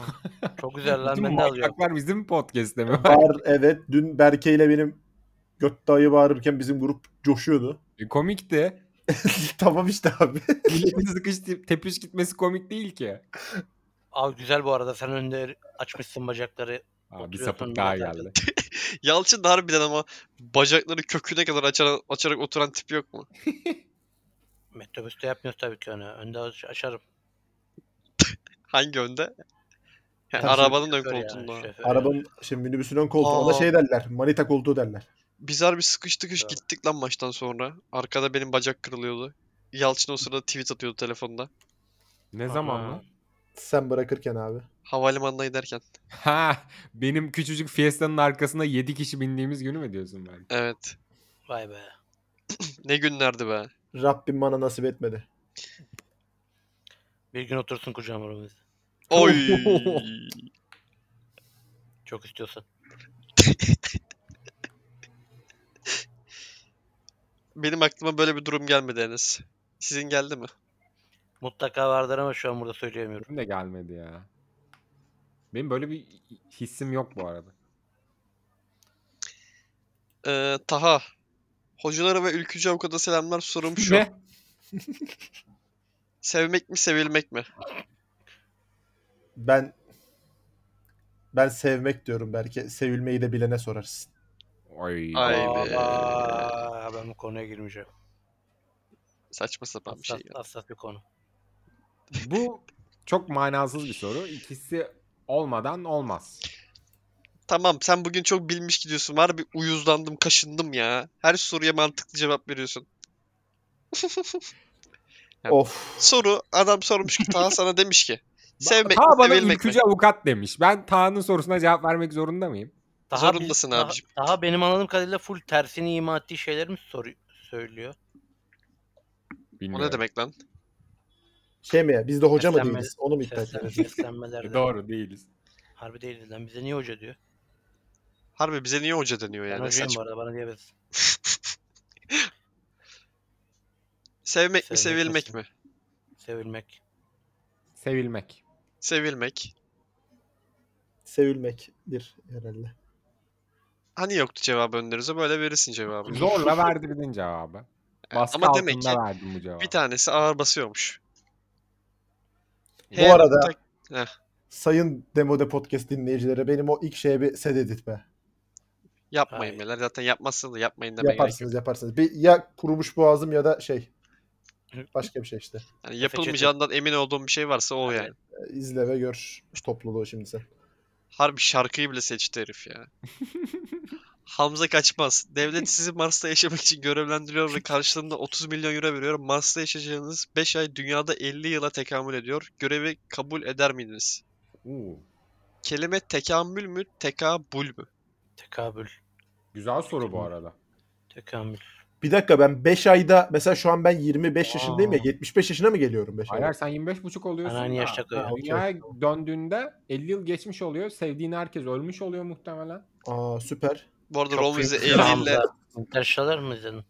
Speaker 4: çok güzel lan
Speaker 3: Bütün
Speaker 4: ben de alıyorum.
Speaker 3: manyaklar bizim podcast'te mi var?
Speaker 5: Var evet dün Berke ile benim göt dayı bağırırken bizim grup coşuyordu.
Speaker 3: E, Komikti.
Speaker 5: tamam işte abi.
Speaker 3: Milletin sıkış te- tepiş gitmesi komik değil ki.
Speaker 4: Abi güzel bu arada sen önde açmışsın bacakları.
Speaker 3: Aa, bir
Speaker 4: Oturuyorsun
Speaker 3: sapık daha
Speaker 4: millet
Speaker 3: geldi.
Speaker 2: Yalçın da harbiden ama bacakları köküne kadar açarak, açarak oturan tip yok mu?
Speaker 4: Metrobüste yapmıyoruz tabii ki onu. Önde aç- açarım.
Speaker 2: Hangi önde? Yani
Speaker 5: Tabii,
Speaker 2: arabanın ön
Speaker 4: Şoför ya,
Speaker 2: koltuğunda.
Speaker 4: şoför.
Speaker 5: Arabanın şimdi minibüsün ön koltuğu ona
Speaker 2: Aa.
Speaker 5: şey derler. Manita koltuğu derler.
Speaker 2: Biz harbi sıkış tıkış
Speaker 4: Evet.
Speaker 2: gittik lan maçtan sonra. Arkada benim bacak kırılıyordu. Yalçın o sırada tweet atıyordu telefonda.
Speaker 3: Ne
Speaker 4: Aha.
Speaker 3: zaman lan?
Speaker 5: Sen bırakırken abi.
Speaker 2: Havalimanına giderken.
Speaker 3: Ha benim küçücük Fiesta'nın arkasına 7 kişi bindiğimiz günü mü diyorsun ben?
Speaker 2: Evet.
Speaker 4: Vay be.
Speaker 2: Ne günlerdi be.
Speaker 5: Rabbim bana nasip etmedi.
Speaker 4: Bir gün otursun kucağıma Rumuz.
Speaker 2: Oy.
Speaker 4: Çok istiyorsan.
Speaker 2: Benim aklıma böyle bir durum gelmedi Enes. Sizin geldi mi?
Speaker 4: Mutlaka vardır ama şu an burada söyleyemiyorum.
Speaker 3: Benim de gelmedi ya. Benim böyle bir hissim yok bu arada.
Speaker 2: Ee, Taha. Hocalara ve ülkücü avukata selamlar. Sorum şu.
Speaker 3: Ne?
Speaker 2: Sevmek mi sevilmek mi?
Speaker 5: Ben ben sevmek diyorum belki. Sevilmeyi de bilene sorarsın.
Speaker 3: Ay.
Speaker 2: Ay be.
Speaker 4: Aa, ben bu konuya girmeyeceğim.
Speaker 2: Saçma sapan bir şey
Speaker 4: Hassas,
Speaker 2: geldi.
Speaker 4: hassas bir konu.
Speaker 3: Bu çok manasız bir soru. İkisi olmadan olmaz.
Speaker 2: Tamam sen bugün çok bilmiş gidiyorsun. Harbi uyuzlandım, kaşındım ya. Her soruya mantıklı cevap veriyorsun. Ya-
Speaker 5: Of.
Speaker 2: soru adam sormuş ki Taha sana demiş ki sevmek mi
Speaker 3: Ta bana
Speaker 2: sevilmek mi?
Speaker 3: ülkücü avukat demiş. Ben Taha'nın sorusuna cevap vermek zorunda mıyım?
Speaker 2: Zorundasın
Speaker 4: daha,
Speaker 2: abicim.
Speaker 4: Daha benim anladığım kadarıyla full tersini ima ettiği şeyler mi soru söylüyor?
Speaker 2: O
Speaker 3: Bilmiyorum.
Speaker 2: ne demek lan?
Speaker 5: Şey mi ya? Biz de hoca mı
Speaker 4: Seslenme-
Speaker 5: değiliz? Onu mu iddia
Speaker 4: Seslen,
Speaker 5: ediyoruz?
Speaker 3: E,
Speaker 4: seslenmelerde.
Speaker 3: Doğru değiliz.
Speaker 4: Harbi değiliz lan. Bize niye hoca diyor?
Speaker 2: Harbi bize niye hoca deniyor
Speaker 4: Ben
Speaker 2: yani?
Speaker 4: hocayım bu
Speaker 2: Saçma.
Speaker 4: arada bana diyemez.
Speaker 2: Sevmek mi
Speaker 4: Sevmek
Speaker 2: sevilmek
Speaker 4: nasıl?
Speaker 2: mi?
Speaker 4: Sevilmek.
Speaker 3: Sevilmek.
Speaker 2: Sevilmek.
Speaker 5: Sevilmektir herhalde.
Speaker 2: Hani yoktu cevabı önlerinize böyle verirsin cevabı.
Speaker 3: Zorla verdi birinin cevabı. Baskı
Speaker 2: Ama
Speaker 3: altında
Speaker 2: demek ki
Speaker 3: verdim bu cevabı.
Speaker 2: bir tanesi ağır basıyormuş.
Speaker 5: Bu arada-
Speaker 2: nokta-
Speaker 5: Sayın Demode Podcast dinleyicilere benim o ilk şeye bir sed edit be.
Speaker 2: yapmayın
Speaker 4: Hayır.
Speaker 2: beyler. Zaten yapmazsınız da yapmayın demeye gerek yok.
Speaker 5: Yaparsınız yaparsınız. Bir, ya kurumuş boğazım ya da şey Başka bir şey işte.
Speaker 2: Yani yapılmayacağından emin olduğum bir şey varsa o yani.
Speaker 5: Ee, İzle ve gör şu topluluğu şimdi sen.
Speaker 2: Harbi şarkıyı bile seçti herif ya. Hamza kaçmaz. Devlet sizi Mars'ta yaşamak için görevlendiriyor ve karşılığında 30 milyon euro veriyor. Mars'ta yaşayacağınız 5 ay dünyada 50 yıla tekamül ediyor. Görevi kabul eder miydiniz?
Speaker 3: Oo,
Speaker 2: Kelime tekamül mü, tekabül mü?
Speaker 4: Tekabül.
Speaker 3: güzel soru bu arada.
Speaker 4: Tekamül.
Speaker 5: Bir dakika ben 5 ayda mesela şu an ben 25 yaşındayım ya
Speaker 4: Aa.
Speaker 5: 75 yaşına mı geliyorum
Speaker 4: Şey-
Speaker 5: 5
Speaker 3: Hayır
Speaker 5: ayda?
Speaker 3: sen 25 buçuk oluyorsun.
Speaker 4: Ben aynı
Speaker 3: da,
Speaker 4: yaşta
Speaker 5: Ha, okey.
Speaker 3: Dünyaya döndüğünde 50 yıl geçmiş oluyor. Sevdiğin herkes ölmüş oluyor muhtemelen.
Speaker 5: Aa süper.
Speaker 2: Bu arada
Speaker 5: Çok
Speaker 2: Romiz'e
Speaker 5: büyük bir
Speaker 2: 50 ile
Speaker 4: Interstellar mı izledin?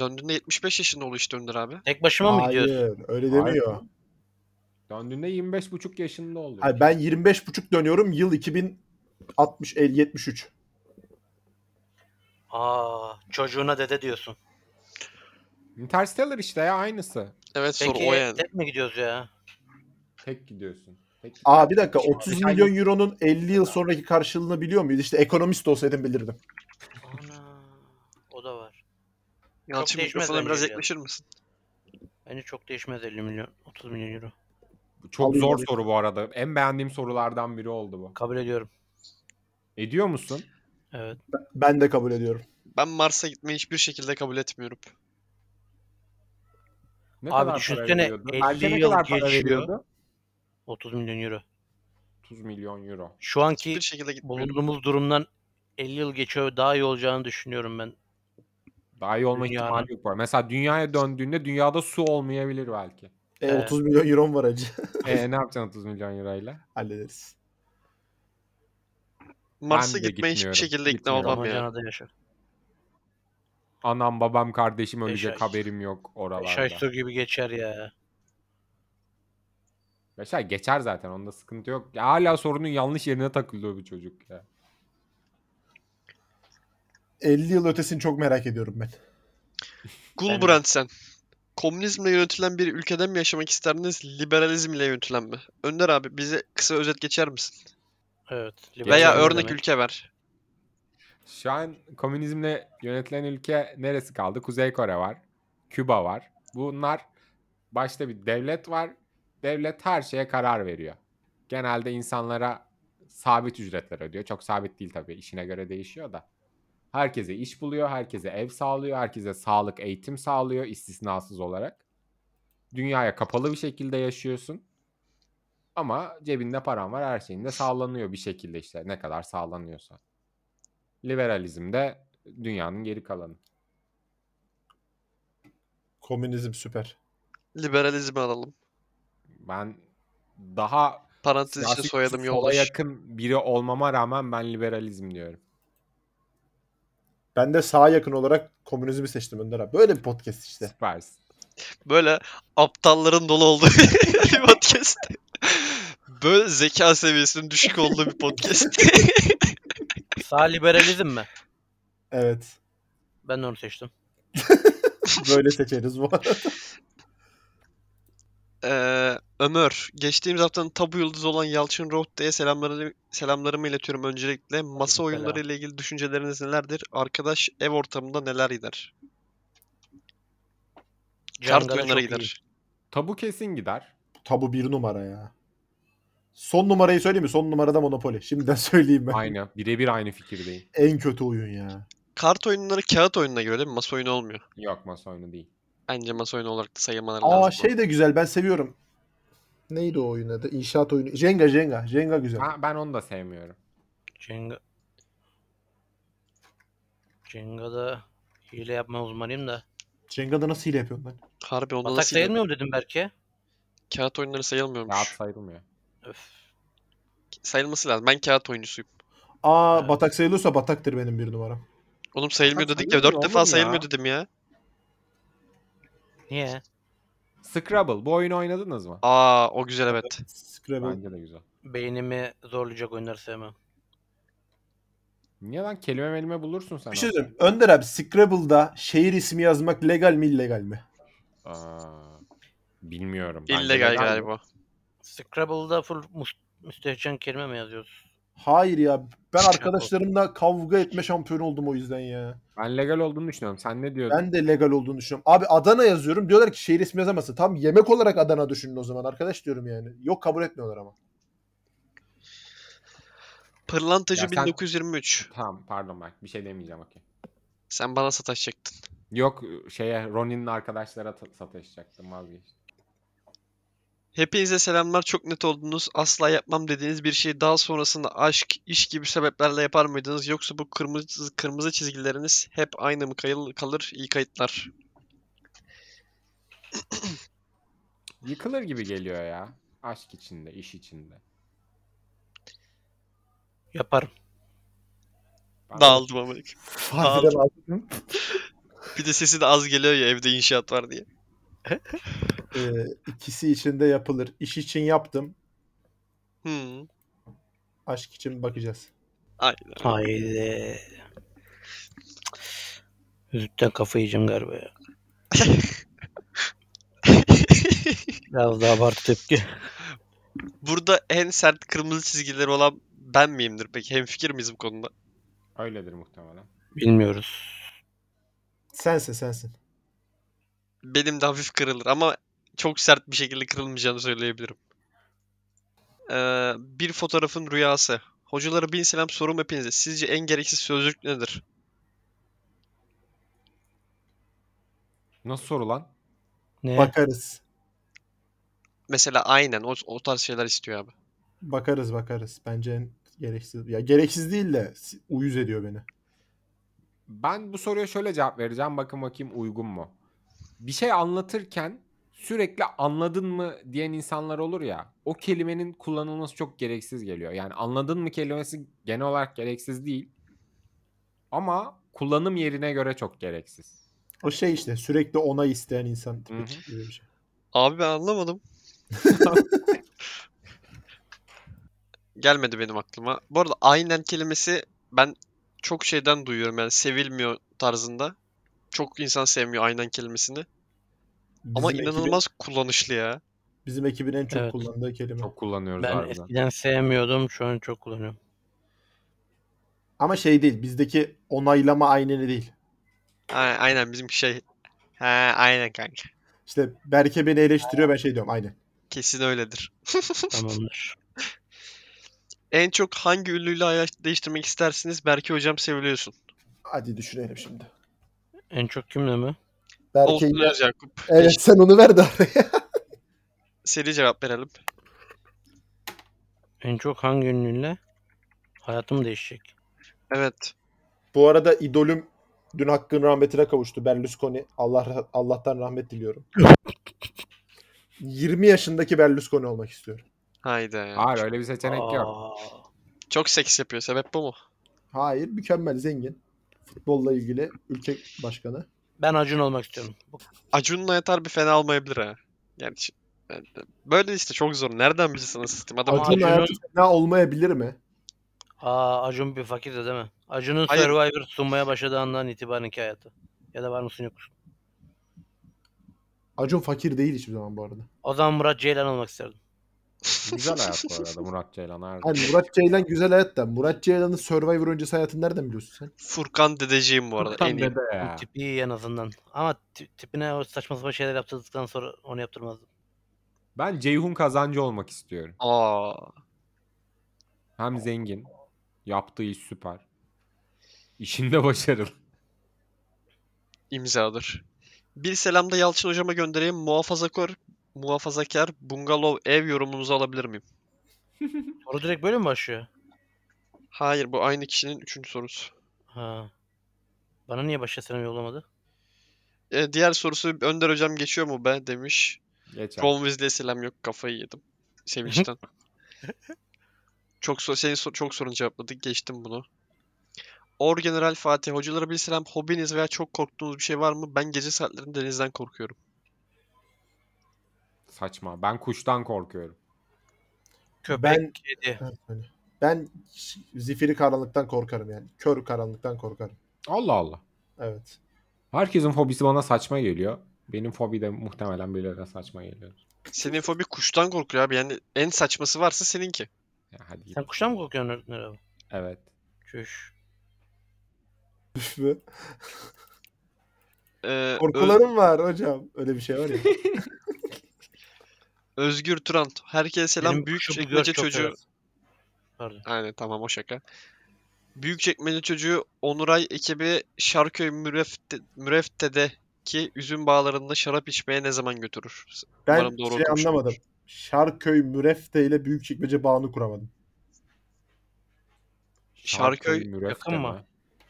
Speaker 2: döndüğünde 75 yaşında oluyor işte Önder abi.
Speaker 4: Tek başıma mı gidiyorsun?
Speaker 5: Hayır öyle
Speaker 3: Hayır.
Speaker 5: demiyor.
Speaker 3: Döndüğünde 25 buçuk yaşında oluyor.
Speaker 5: Hayır, ben 25,5 dönüyorum yıl 2060 el- 73.
Speaker 4: Aa, çocuğuna dede diyorsun.
Speaker 3: Interstellar işte ya aynısı.
Speaker 2: Evet soru
Speaker 4: Peki
Speaker 2: o yani.
Speaker 4: tek mi gidiyoruz ya?
Speaker 3: Tek gidiyorsun. Tek
Speaker 5: Aa bir dakika
Speaker 3: Şimdi
Speaker 5: 30
Speaker 3: sen-
Speaker 5: milyon euronun 50 yıl sonraki karşılığını biliyor muyuz? İşte ekonomist olsaydım bilirdim.
Speaker 4: Ana, o da var.
Speaker 2: Yalçın
Speaker 4: değişmez
Speaker 2: mikrofona
Speaker 4: bence
Speaker 2: biraz
Speaker 4: ya.
Speaker 2: yaklaşır mısın?
Speaker 4: Bence çok değişmez 50 milyon, 30 milyon euro.
Speaker 3: Çok
Speaker 5: Alayım,
Speaker 3: zor
Speaker 5: alayım.
Speaker 3: soru bu arada. En beğendiğim sorulardan biri oldu bu.
Speaker 4: Kabul ediyorum.
Speaker 3: Ediyor musun?
Speaker 4: Evet.
Speaker 5: Ben de kabul ediyorum.
Speaker 2: Ben Mars'a gitmeyi hiçbir şekilde kabul etmiyorum.
Speaker 3: Ne
Speaker 4: Abi düşünsene,
Speaker 3: veriyordu?
Speaker 4: 50
Speaker 3: Belki ne
Speaker 4: yıl
Speaker 3: kadar para
Speaker 4: geçiyor.
Speaker 3: veriyordu?
Speaker 4: 30 milyon euro.
Speaker 3: 30 milyon euro.
Speaker 4: Şu anki
Speaker 2: Hiçbir şey- şekilde gitmiyorum.
Speaker 4: bulunduğumuz durumdan 50 yıl geçiyor daha iyi olacağını düşünüyorum ben.
Speaker 3: Daha iyi olma
Speaker 4: Dünyanın-
Speaker 3: ihtimali yok var. Mesela dünyaya döndüğünde dünyada su olmayabilir belki.
Speaker 5: E,
Speaker 4: Evet.
Speaker 5: 30 milyon euron var acı.
Speaker 3: e, ne yapacaksın 30 milyon euroyla?
Speaker 5: Hallederiz.
Speaker 2: Mars'a
Speaker 3: de
Speaker 2: gitmeyi hiçbir
Speaker 3: gitmiyorum.
Speaker 2: şekilde ikna
Speaker 3: Gitmiyorum.
Speaker 2: olmam yani.
Speaker 4: Damacana da yaşa.
Speaker 3: Anam babam kardeşim ölecek
Speaker 4: ay.
Speaker 3: haberim yok oralarda.
Speaker 4: Şaştır gibi geçer ya.
Speaker 3: Beş ay geçer zaten onda sıkıntı yok. Ya hala sorunun yanlış yerine takılıyor bu çocuk ya.
Speaker 5: 50 yıl ötesini çok merak ediyorum ben.
Speaker 2: Gulbrand sen. Komünizmle yönetilen bir ülkede mi yaşamak isterdiniz, liberalizmle yönetilen mi? Önder abi bize kısa özet geçer misin?
Speaker 4: Evet.
Speaker 2: Veya
Speaker 4: liberal
Speaker 2: örnek
Speaker 4: demek.
Speaker 2: ülke ver.
Speaker 3: Şu an komünizmle yönetilen ülke neresi kaldı? Kuzey Kore var. Küba var. Bunlar başta bir devlet var. Devlet her şeye karar veriyor. Genelde insanlara sabit ücretler ödüyor. Çok sabit değil tabii. işine göre değişiyor da. Herkese iş buluyor, herkese ev sağlıyor, herkese sağlık, eğitim sağlıyor istisnasız olarak. Dünyaya kapalı bir şekilde yaşıyorsun. Ama cebinde paran var, her şeyin de sağlanıyor bir şekilde işte. Ne kadar sağlanıyorsa. Liberalizm de dünyanın geri kalanı.
Speaker 5: Komünizm süper.
Speaker 2: Liberalizmi alalım.
Speaker 3: Ben daha
Speaker 2: Parantez içinde
Speaker 3: siyasi
Speaker 2: soyadım
Speaker 3: sola
Speaker 2: yoldaş.
Speaker 3: yakın biri olmama rağmen ben liberalizm diyorum.
Speaker 5: Ben de sağa yakın olarak komünizmi seçtim Önder abi. Böyle bir podcast işte.
Speaker 3: Süpersin.
Speaker 2: Böyle aptalların dolu olduğu bir podcast. Böyle zeka seviyesinin düşük olduğu bir podcast.
Speaker 4: Sağ liberalizm mi?
Speaker 5: Evet.
Speaker 4: Ben de onu seçtim.
Speaker 5: Böyle seçeriz bu arada.
Speaker 2: Ee, Ömür, geçtiğimiz haftanın tabu yıldızı olan Yalçın Rohde'ye selamlarını, selamlarımı iletiyorum öncelikle. Masa
Speaker 4: selam.
Speaker 2: oyunları ile ilgili düşünceleriniz nelerdir? Arkadaş ev ortamında neler gider? Kart
Speaker 4: Cangara
Speaker 2: oyunları
Speaker 4: çok iyi.
Speaker 2: gider.
Speaker 3: Tabu kesin gider.
Speaker 5: Tabu bir numara ya. Son numarayı söyleyeyim mi? Son numarada Monopoly. Şimdiden söyleyeyim ben.
Speaker 3: Aynı. Birebir aynı fikirdeyim.
Speaker 5: En kötü oyun ya.
Speaker 2: Kart oyunları kağıt oyununa göre değil mi? Masa oyunu olmuyor.
Speaker 3: Yok masa oyunu değil.
Speaker 2: Bence masa oyunu olarak da sayılmaları lazım.
Speaker 5: Aa
Speaker 2: bu.
Speaker 5: şey de güzel ben seviyorum. Neydi o oyun adı? İnşaat oyunu. Jenga Jenga. Jenga güzel.
Speaker 3: Ben, ben onu da sevmiyorum.
Speaker 4: Jenga. Jenga'da hile yapma uzmanıyım da.
Speaker 5: Jenga'da nasıl hile yapıyorum ben?
Speaker 2: Harbi onda
Speaker 4: Batak
Speaker 2: nasıl yine-
Speaker 4: sayılmıyor mu dedim Berke?
Speaker 2: Kağıt oyunları sayılmıyormuş.
Speaker 3: Rahat sayılmıyor.
Speaker 4: Öf.
Speaker 2: Sayılması lazım. Ben kağıt oyuncusuyum.
Speaker 5: Aa
Speaker 4: Evet.
Speaker 5: batak sayılıyorsa bataktır benim bir numaram.
Speaker 2: Oğlum sayılmıyor
Speaker 3: Batak
Speaker 2: dedik ya. Dört
Speaker 3: sayılmıyor
Speaker 2: defa
Speaker 3: oğlum
Speaker 2: sayılmıyor
Speaker 3: ya.
Speaker 2: dedim ya.
Speaker 4: Niye?
Speaker 3: Scrabble. Bu oyunu oynadınız mı?
Speaker 2: Aa o güzel evet.
Speaker 5: Scrabble.
Speaker 3: Bence de güzel.
Speaker 4: Beynimi zorlayacak oyunları sevmem.
Speaker 3: Niye lan? Kelime melime bulursun sen.
Speaker 5: Bir şey
Speaker 3: aslında.
Speaker 5: söyleyeyim. Önder abi Scrabble'da şehir ismi yazmak legal mi illegal mi?
Speaker 3: Aa, bilmiyorum. Bence
Speaker 2: İllegal
Speaker 3: legal mi?
Speaker 2: galiba.
Speaker 4: Scrabble'da full mus- müstehcen kelime mi yazıyoruz?
Speaker 5: Hayır ya ben arkadaşlarımla kavga etme şampiyonu oldum o yüzden ya.
Speaker 3: Ben legal olduğunu düşünüyorum. Sen ne diyordun?
Speaker 5: Ben de legal olduğunu düşünüyorum. Abi Adana yazıyorum diyorlar ki şehir ismi yazamazsın. Tam yemek olarak Adana düşünün o zaman arkadaş diyorum yani. Yok kabul etmiyorlar ama.
Speaker 2: Pırlantacı
Speaker 3: Ya sen-
Speaker 2: 1923.
Speaker 3: Tamam pardon ben bir şey demeyeceğim okey.
Speaker 2: Sen bana sataşacaktın.
Speaker 3: Yok şeye Ronin'in arkadaşlara ta- sataşacaktım vazgeçtim.
Speaker 2: Hepinize selamlar. Çok net oldunuz. Asla yapmam dediğiniz bir şeyi daha sonrasında aşk, iş gibi sebeplerle yapar mıydınız? Yoksa bu kırmızı kırmızı çizgileriniz hep aynı mı kayıl- kalır? İyi kayıtlar.
Speaker 3: Yıkılır gibi geliyor ya. Aşk içinde, iş içinde.
Speaker 4: Yaparım.
Speaker 3: Ben-
Speaker 2: Dağıldım ama.
Speaker 5: Fatih'e baktım.
Speaker 2: Bir de sesi de az geliyor ya evde inşaat var diye.
Speaker 5: Ee, ikisi için de yapılır. İş için yaptım.
Speaker 2: Hmm.
Speaker 5: Aşk için bakacağız.
Speaker 2: Aynen.
Speaker 4: Haydi. Üzütten kafayı yiyeceğim galiba ya. Biraz daha abartı tepki.
Speaker 2: Burada en sert kırmızı çizgileri olan ben miyimdir peki? Hemfikir miyiz bu konuda?
Speaker 3: Öyledir muhtemelen.
Speaker 4: Bilmiyoruz.
Speaker 5: Sensin sensin.
Speaker 2: Benim de hafif kırılır ama çok sert bir şekilde kırılmayacağını söyleyebilirim. Ee, bir fotoğrafın rüyası. Hocalara bin selam sorum hepinize. Sizce en gereksiz sözcük nedir?
Speaker 3: Nasıl soru lan?
Speaker 4: Ne?
Speaker 5: Bakarız.
Speaker 2: Mesela aynen o, o tarz şeyler istiyor abi.
Speaker 5: Bakarız bakarız. Bence en gereksiz. Ya gereksiz değil de si- uyuz ediyor beni.
Speaker 3: Ben bu soruya şöyle cevap vereceğim. Bakın bakayım uygun mu? Bir şey anlatırken sürekli anladın mı diyen insanlar olur ya. O kelimenin kullanılması çok gereksiz geliyor. Yani anladın mı kelimesi genel olarak gereksiz değil. Ama kullanım yerine göre çok gereksiz.
Speaker 5: O şey işte sürekli onay isteyen insan tipi
Speaker 3: Hı hı.
Speaker 5: gibi bir şey.
Speaker 2: Abi ben anlamadım. Gelmedi benim aklıma. Bu arada aynen kelimesi ben çok şeyden duyuyorum yani sevilmiyor tarzında. Çok insan sevmiyor aynen kelimesini. Ama
Speaker 5: Bizim ekibin-
Speaker 2: inanılmaz kullanışlı ya.
Speaker 5: bizim ekibin en çok
Speaker 4: Evet.
Speaker 5: kullandığı kelime.
Speaker 3: Çok kullanıyoruz
Speaker 4: Ben
Speaker 3: harbiden.
Speaker 4: eskiden sevmiyordum. Şu an çok kullanıyorum.
Speaker 5: Ama şey değil. Bizdeki onaylama ayneni değil.
Speaker 2: A- Aynen bizimki şey. He aynen kanka.
Speaker 5: İşte Berke beni eleştiriyor ben şey diyorum aynen.
Speaker 2: Kesin öyledir.
Speaker 4: Tamamdır.
Speaker 2: En çok hangi ünlüyle hayat değiştirmek istersiniz? Berke hocam seviliyorsun.
Speaker 5: Hadi düşünelim şimdi.
Speaker 4: En çok kimle mi?
Speaker 5: Berke'yi
Speaker 2: Olsun Öz Yakup.
Speaker 5: Evet sen onu ver de araya.
Speaker 2: Seri cevap verelim.
Speaker 4: En çok hangi ünlüyle? Hayatım değişecek.
Speaker 2: Evet.
Speaker 5: Bu arada idolüm dün hakkın rahmetine kavuştu Berlusconi. Allah Allah'tan rahmet diliyorum. 20 yaşındaki Berlusconi olmak istiyorum.
Speaker 2: Haydi.
Speaker 3: Hayır öyle bir seçenek yok.
Speaker 4: Aa.
Speaker 2: Çok seks yapıyor. Sebep bu mu?
Speaker 5: Hayır mükemmel zengin. Futbolla ilgili ülke başkanı.
Speaker 4: Ben Acun olmak istiyorum. Bu-
Speaker 2: Acun'la yatar bir fena olmayabilir ha. Yani şi- yani böyle işte çok zor. Nereden bilirsin asistim? Adam
Speaker 5: Acun
Speaker 4: Acun'un-
Speaker 5: hayatı fena olmayabilir mi?
Speaker 4: Aa, Acun bir fakir de değil mi? Acun'un
Speaker 2: Hayır.
Speaker 4: Survivor sunmaya başladığı andan itibarenki hayatı. Ya da var mısın yok musun?
Speaker 5: Acun fakir değil hiçbir zaman bu arada.
Speaker 4: O zaman Murat Ceylan olmak isterdim.
Speaker 3: Güzel hayat bu arada Murat Ceylan harbiden.
Speaker 5: Hani Murat Ceylan güzel hayat da Murat Ceylan'ın Survivor öncesi hayatını nereden biliyorsun sen?
Speaker 2: Furkan dedeciğim bu arada. En iyi.
Speaker 3: Dede ya.
Speaker 4: Tipi iyi en azından. Ama ti- tipine o saçma sapan şeyler yaptırdıktan sonra onu yaptırmazdım.
Speaker 3: Ben Ceyhun Kazancı olmak istiyorum.
Speaker 2: Aa,
Speaker 3: Hem zengin, yaptığı iş süper. İşinde başarılı.
Speaker 2: imzadır. Bir selam da Yalçın hocama göndereyim. Muhafazakar, muhafazakar bungalov ev yorumunuzu alabilir miyim?
Speaker 4: Soru direkt böyle mi başlıyor?
Speaker 2: Hayır bu aynı kişinin üçüncü sorusu.
Speaker 4: Ha. Bana niye başka selam yollamadı?
Speaker 2: E, diğer sorusu Önder hocam geçiyor mu be demiş.
Speaker 3: Geçer.
Speaker 2: Ron Weasley'e selam yok kafayı yedim. Sevinçten. çok sor senin sor- çok sorun cevapladık geçtim bunu. Orgeneral Fatih hocalara bir selam. Hobiniz veya çok korktuğunuz bir şey var mı? Ben gece saatlerinde denizden korkuyorum.
Speaker 3: Saçma. Ben kuştan korkuyorum.
Speaker 4: Köpek,
Speaker 5: Ben-
Speaker 4: kedi.
Speaker 5: Evet, hani. Ben ş- zifiri karanlıktan korkarım yani. Kör karanlıktan korkarım.
Speaker 3: Allah Allah.
Speaker 5: Evet.
Speaker 3: Herkesin fobisi bana saçma geliyor. Benim fobi de muhtemelen birilerine saçma geliyor.
Speaker 2: Senin fobi kuştan korkuyor abi. Yani en saçması varsa seninki.
Speaker 3: Ya hadi git.
Speaker 4: Sen kuştan mı kokuyorsun Önder abi?
Speaker 3: Evet.
Speaker 4: Çüş.
Speaker 2: Ee, Öz-
Speaker 5: Korkularım var hocam. Öyle bir şey var ya.
Speaker 2: Özgür Turan. Herkese selam.
Speaker 4: Benim
Speaker 2: Büyük
Speaker 4: kuşum
Speaker 2: çekmece
Speaker 4: Björk çok
Speaker 2: çocuğu.
Speaker 4: sever. Pardon.
Speaker 2: Aynen tamam o şaka. Büyükçekmece çocuğu Onuray ekibi Şarköy Mürefte, Mürefte'deki üzüm bağlarında şarap içmeye ne zaman götürür?
Speaker 5: Ben
Speaker 2: Umarım doğru
Speaker 5: şey
Speaker 2: okumuşumdur.
Speaker 5: anlamadım. Şarköy Mürefte ile Büyükçekmece bağını kuramadım.
Speaker 2: Şarköy
Speaker 3: Mürefte
Speaker 4: yakın mı?
Speaker 3: mi?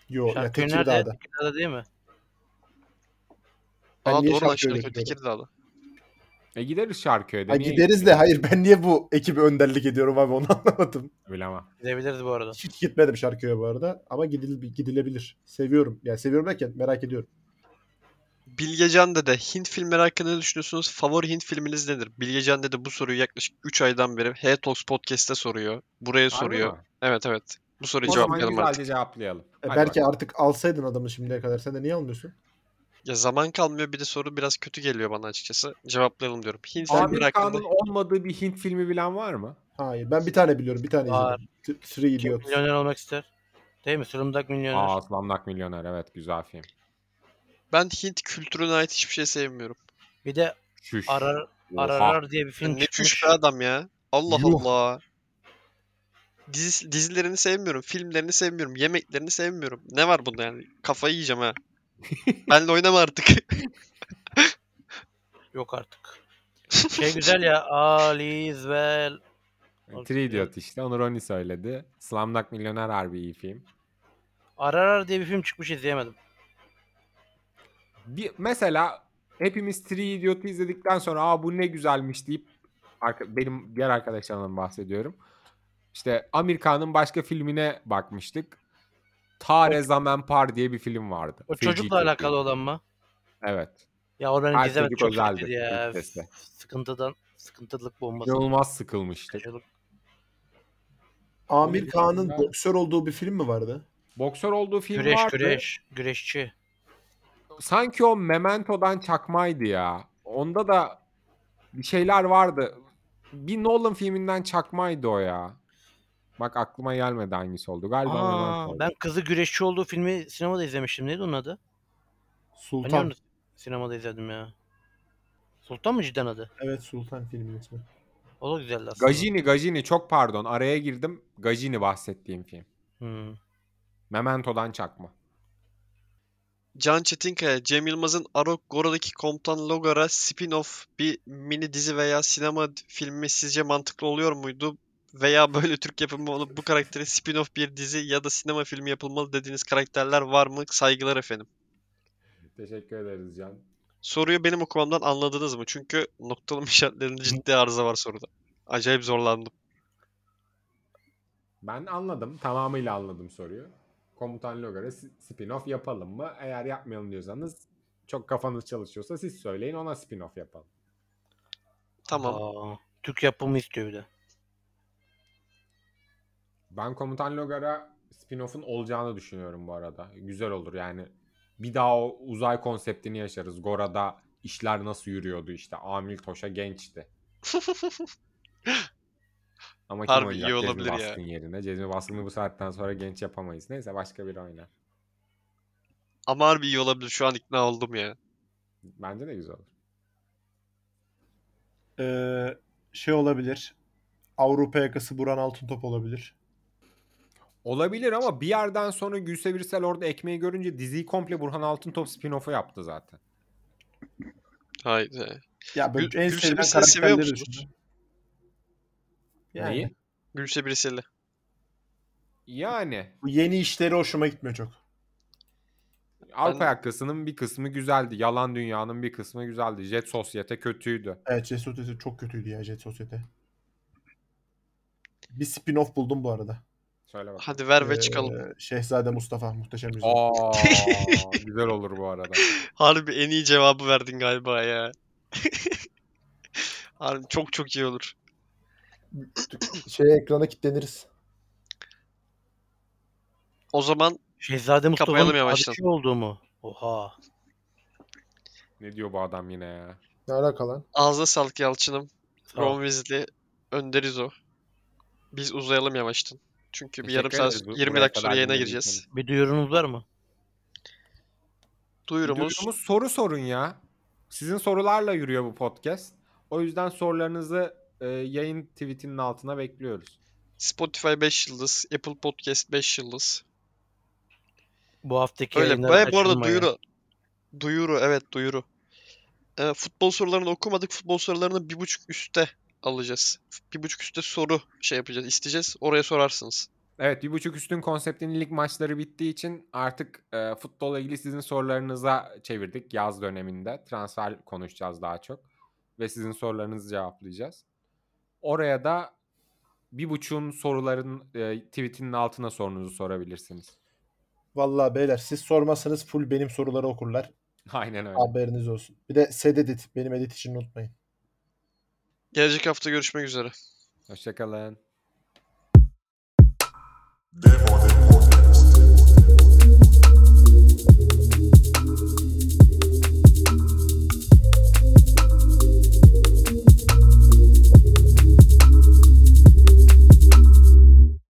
Speaker 5: Yo, ya
Speaker 4: Şarköy nerede?
Speaker 5: Tekirdağ'da.
Speaker 4: Tekirdağ'da değil mi?
Speaker 5: Ben
Speaker 2: Aa
Speaker 5: niye
Speaker 2: doğru lan
Speaker 5: Şarköy'e
Speaker 2: Şarköy
Speaker 5: gidiyorum?
Speaker 2: Tekirdağ'da.
Speaker 3: E gideriz Şarköy'de.
Speaker 5: Ha,
Speaker 3: niye
Speaker 5: gideriz de
Speaker 3: gitmeyelim?
Speaker 5: hayır ben niye bu ekibe önderlik ediyorum abi onu anlamadım.
Speaker 3: Bilemem.
Speaker 4: Gidebiliriz bu arada.
Speaker 5: Hiç gitmedim Şarköy'e bu arada ama gidil, gidilebilir. Seviyorum. Yani seviyorum derken merak ediyorum.
Speaker 2: Bilgecan dede Hint filmleri hakkında ne düşünüyorsunuz? Favori Hint filminiz nedir? Bilgecan dede bu soruyu yaklaşık 3 aydan beri Hey Talks Podcast'te soruyor. Buraya
Speaker 3: Harbi
Speaker 2: soruyor.
Speaker 3: mi?
Speaker 2: Evet evet. Bu soruyu
Speaker 3: O zaman
Speaker 2: cevaplayalım
Speaker 3: güzelce
Speaker 2: artık.
Speaker 3: cevaplayalım.
Speaker 5: E,
Speaker 3: Hadi
Speaker 5: belki
Speaker 3: bakalım.
Speaker 5: artık alsaydın adamı şimdiye kadar. Sen de niye almıyorsun?
Speaker 2: Ya zaman kalmıyor bir de soru biraz kötü geliyor bana açıkçası. Cevaplayalım diyorum. Hint filmleri
Speaker 3: Amir Kağan'ın
Speaker 2: hakkında
Speaker 3: olmadığı bir Hint filmi bilen var mı?
Speaker 5: Hayır. Ben bir tane biliyorum. Bir tane
Speaker 4: Var.
Speaker 5: izledim. T- Three
Speaker 4: Kim
Speaker 5: Idiots.
Speaker 4: milyoner olmak ister? Değil mi? Sırımdak milyoner.
Speaker 3: Aa Slumdog Milyoner evet güzel film.
Speaker 2: ben Hint kültürüne ait hiçbir şey sevmiyorum.
Speaker 4: Bir de
Speaker 3: Şüş.
Speaker 4: Arar
Speaker 3: Oha.
Speaker 4: Ararar diye bir film
Speaker 2: Ne
Speaker 4: çıkmış.
Speaker 2: çüş be adam ya. Allah
Speaker 5: Yuh.
Speaker 2: Allah. Dizi, dizilerini sevmiyorum, filmlerini sevmiyorum, yemeklerini sevmiyorum. Ne var bunda yani? Kafayı yiyeceğim ha. Benle oynama artık.
Speaker 4: Yok artık. Şey güzel ya. Alice Well.
Speaker 3: Three Idiot E, işte Onur Oni söyledi. Slumdog Milyoner harbi iyi film.
Speaker 4: Ararar diye bir film çıkmış izleyemedim.
Speaker 3: Bir, mesela hepimiz Three Idiot'u izledikten sonra aa bu ne güzelmiş deyip arka- benim diğer arkadaşlarımdan bahsediyorum. İşte Amerika'nın başka filmine bakmıştık. Tare Zaman Par diye bir film vardı.
Speaker 4: O
Speaker 3: Feci
Speaker 4: çocukla
Speaker 3: kötü.
Speaker 4: alakalı olan mı?
Speaker 3: Evet.
Speaker 4: Ya o benim
Speaker 3: Her
Speaker 4: izlemedim.
Speaker 3: çocuk
Speaker 4: Çok
Speaker 3: özeldir,
Speaker 4: kötüydü ya.
Speaker 3: ilk testi.
Speaker 4: Sıkıntıdan, sıkıntılık bombası.
Speaker 3: İnanılmaz sıkılmıştık.
Speaker 4: Sıkıntılık.
Speaker 5: Amir Kağan'ın
Speaker 3: Ben-
Speaker 5: boksör olduğu bir film mi vardı?
Speaker 3: Boksör olduğu film
Speaker 4: Güreş,
Speaker 3: vardı.
Speaker 4: güreş, güreşçi.
Speaker 3: Sanki o Memento'dan çakmaydı ya. Onda da bir şeyler vardı. Bir Nolan filminden çakmaydı o ya. Bak aklıma gelmedi hangisi oldu. Galiba Memento.
Speaker 4: Aa,
Speaker 3: oldu.
Speaker 4: ben kızı güreşçi olduğu filmi sinemada izlemiştim. Neydi onun adı? Ben
Speaker 5: Sultan.
Speaker 4: onu sinemada izledim ya. Sultan mı cidden adı?
Speaker 5: Evet Sultan filmin ismi.
Speaker 4: O da güzeldi aslında.
Speaker 3: Gajini Gajini çok pardon araya girdim. Gajini bahsettiğim film.
Speaker 4: Hmm.
Speaker 3: Memento'dan çakma.
Speaker 2: Can Çetinkaya, Cem Yılmaz'ın Arok Gora'daki Komutan Logar'a spin-off bir mini dizi veya sinema filmi sizce mantıklı oluyor muydu? Veya böyle Türk yapımı olup bu karaktere spin-off bir dizi ya da sinema filmi yapılmalı dediğiniz karakterler var mı? Saygılar efendim.
Speaker 3: Teşekkür ederiz Can.
Speaker 2: Soruyu benim okumamdan anladınız mı? Çünkü noktalama işaretlerinde ciddi arıza var soruda. Acayip zorlandım.
Speaker 3: Ben anladım. Tamamıyla anladım soruyu. Komutan Logar'a s- spin-off yapalım mı? Eğer yapmayalım diyorsanız çok kafanız çalışıyorsa siz söyleyin ona spin-off yapalım.
Speaker 2: Tamam.
Speaker 4: Aa, Türk yapımı istiyor bir de.
Speaker 3: Ben Komutan Logar'a spin-off'un olacağını düşünüyorum bu arada. Güzel olur yani. Bir daha o uzay konseptini yaşarız. Gora'da işler nasıl yürüyordu işte. Amil Toş'a gençti. Ama kim
Speaker 2: Harbi
Speaker 3: oynayacak
Speaker 2: iyi
Speaker 3: Cezmi
Speaker 2: olabilir ya.
Speaker 3: Baskın yerine? Cezmi Baskın'ı bu saatten sonra genç yapamayız. Neyse başka biri oynar.
Speaker 2: Ama harbi iyi olabilir. Şu an ikna oldum ya.
Speaker 3: Bence de güzel olur.
Speaker 5: Ee, şey olabilir. Avrupa yakası Buran Altıntop olabilir.
Speaker 3: Olabilir ama bir yerden sonra Gülse Birsel orada ekmeği görünce diziyi komple Burhan Altıntop spin-off'u yaptı zaten.
Speaker 2: Haydi.
Speaker 5: Ya ben
Speaker 2: Gül-
Speaker 5: en
Speaker 2: Gülsel
Speaker 5: sevilen
Speaker 2: Birsel'i seviyor
Speaker 5: karakterleri
Speaker 2: musunuz?
Speaker 5: düşünün.
Speaker 3: Neyi?
Speaker 5: Yani
Speaker 2: Gülse Birsel'i.
Speaker 3: Yani
Speaker 5: bu yeni işleri hoşuma gitmiyor çok.
Speaker 3: Avrupa
Speaker 2: Ben-
Speaker 3: yakasının bir kısmı güzeldi. Yalan Dünya'nın bir kısmı güzeldi. Jet Sosyete kötüydü.
Speaker 5: Evet Jet Sosyete çok kötüydü ya Jet Sosyete. Bir spin-off buldum bu arada.
Speaker 3: Söyle bak.
Speaker 2: Hadi ver ve
Speaker 5: Ee,
Speaker 2: çıkalım.
Speaker 5: Şehzade Mustafa muhteşem yüzyıl.
Speaker 3: Aa, güzel olur bu arada.
Speaker 2: Harbi en iyi cevabı verdin galiba ya. Harbi çok çok iyi olur.
Speaker 5: Şeye ekrana kilitleniriz.
Speaker 2: O zaman
Speaker 4: Şehzade
Speaker 2: Kapayalım
Speaker 4: Mustafa'nın
Speaker 2: yavaştan.
Speaker 4: adışı olduğu mu? Oha.
Speaker 3: Ne diyor bu adam yine ya?
Speaker 5: Ne alaka lan?
Speaker 2: ağzına sağlık Yalçın'ım.
Speaker 4: Sağ ol.
Speaker 2: Ron Weasley, Önderizo. Biz uzayalım yavaştan. Çünkü bir yarım
Speaker 3: Teşekkür
Speaker 2: saat,
Speaker 3: ederiz bu-
Speaker 2: 20
Speaker 3: buraya
Speaker 2: dakika sonra
Speaker 3: kadar
Speaker 2: yayına
Speaker 3: dinlediğiniz
Speaker 2: gireceğiz.
Speaker 3: için.
Speaker 4: Bir duyurunuz var mı?
Speaker 2: Duyurumuz,
Speaker 3: Duyurumuz soru sorun ya. Sizin sorularla yürüyor bu podcast. O yüzden sorularınızı e, yayın tweetinin altına bekliyoruz.
Speaker 2: Spotify 5 yıldız, Apple Podcast 5 yıldız.
Speaker 4: Bu haftaki
Speaker 2: Öyle.
Speaker 4: yayınlar
Speaker 2: Baya bu arada
Speaker 4: kaçırılmayın.
Speaker 2: duyuru. Duyuru evet duyuru. Ee, futbol sorularını okumadık. Futbol sorularını bir buçuk üstte alacağız. Bir buçuk üstte soru şey yapacağız, isteyeceğiz. Oraya sorarsınız.
Speaker 3: Evet bir buçuk üstün konseptinin lig maçları bittiği için artık e, futbolla ilgili sizin sorularınıza çevirdik yaz döneminde. Transfer konuşacağız daha çok ve sizin sorularınızı cevaplayacağız. Oraya da bir buçuğun soruların e, tweetinin altına sorunuzu sorabilirsiniz.
Speaker 5: Vallahi beyler siz sormasanız full benim soruları okurlar.
Speaker 3: Aynen öyle.
Speaker 5: Haberiniz olsun. Bir de sededit benim edit için unutmayın.
Speaker 2: Gelecek hafta görüşmek üzere.
Speaker 3: Hoşçakalın.
Speaker 1: Defol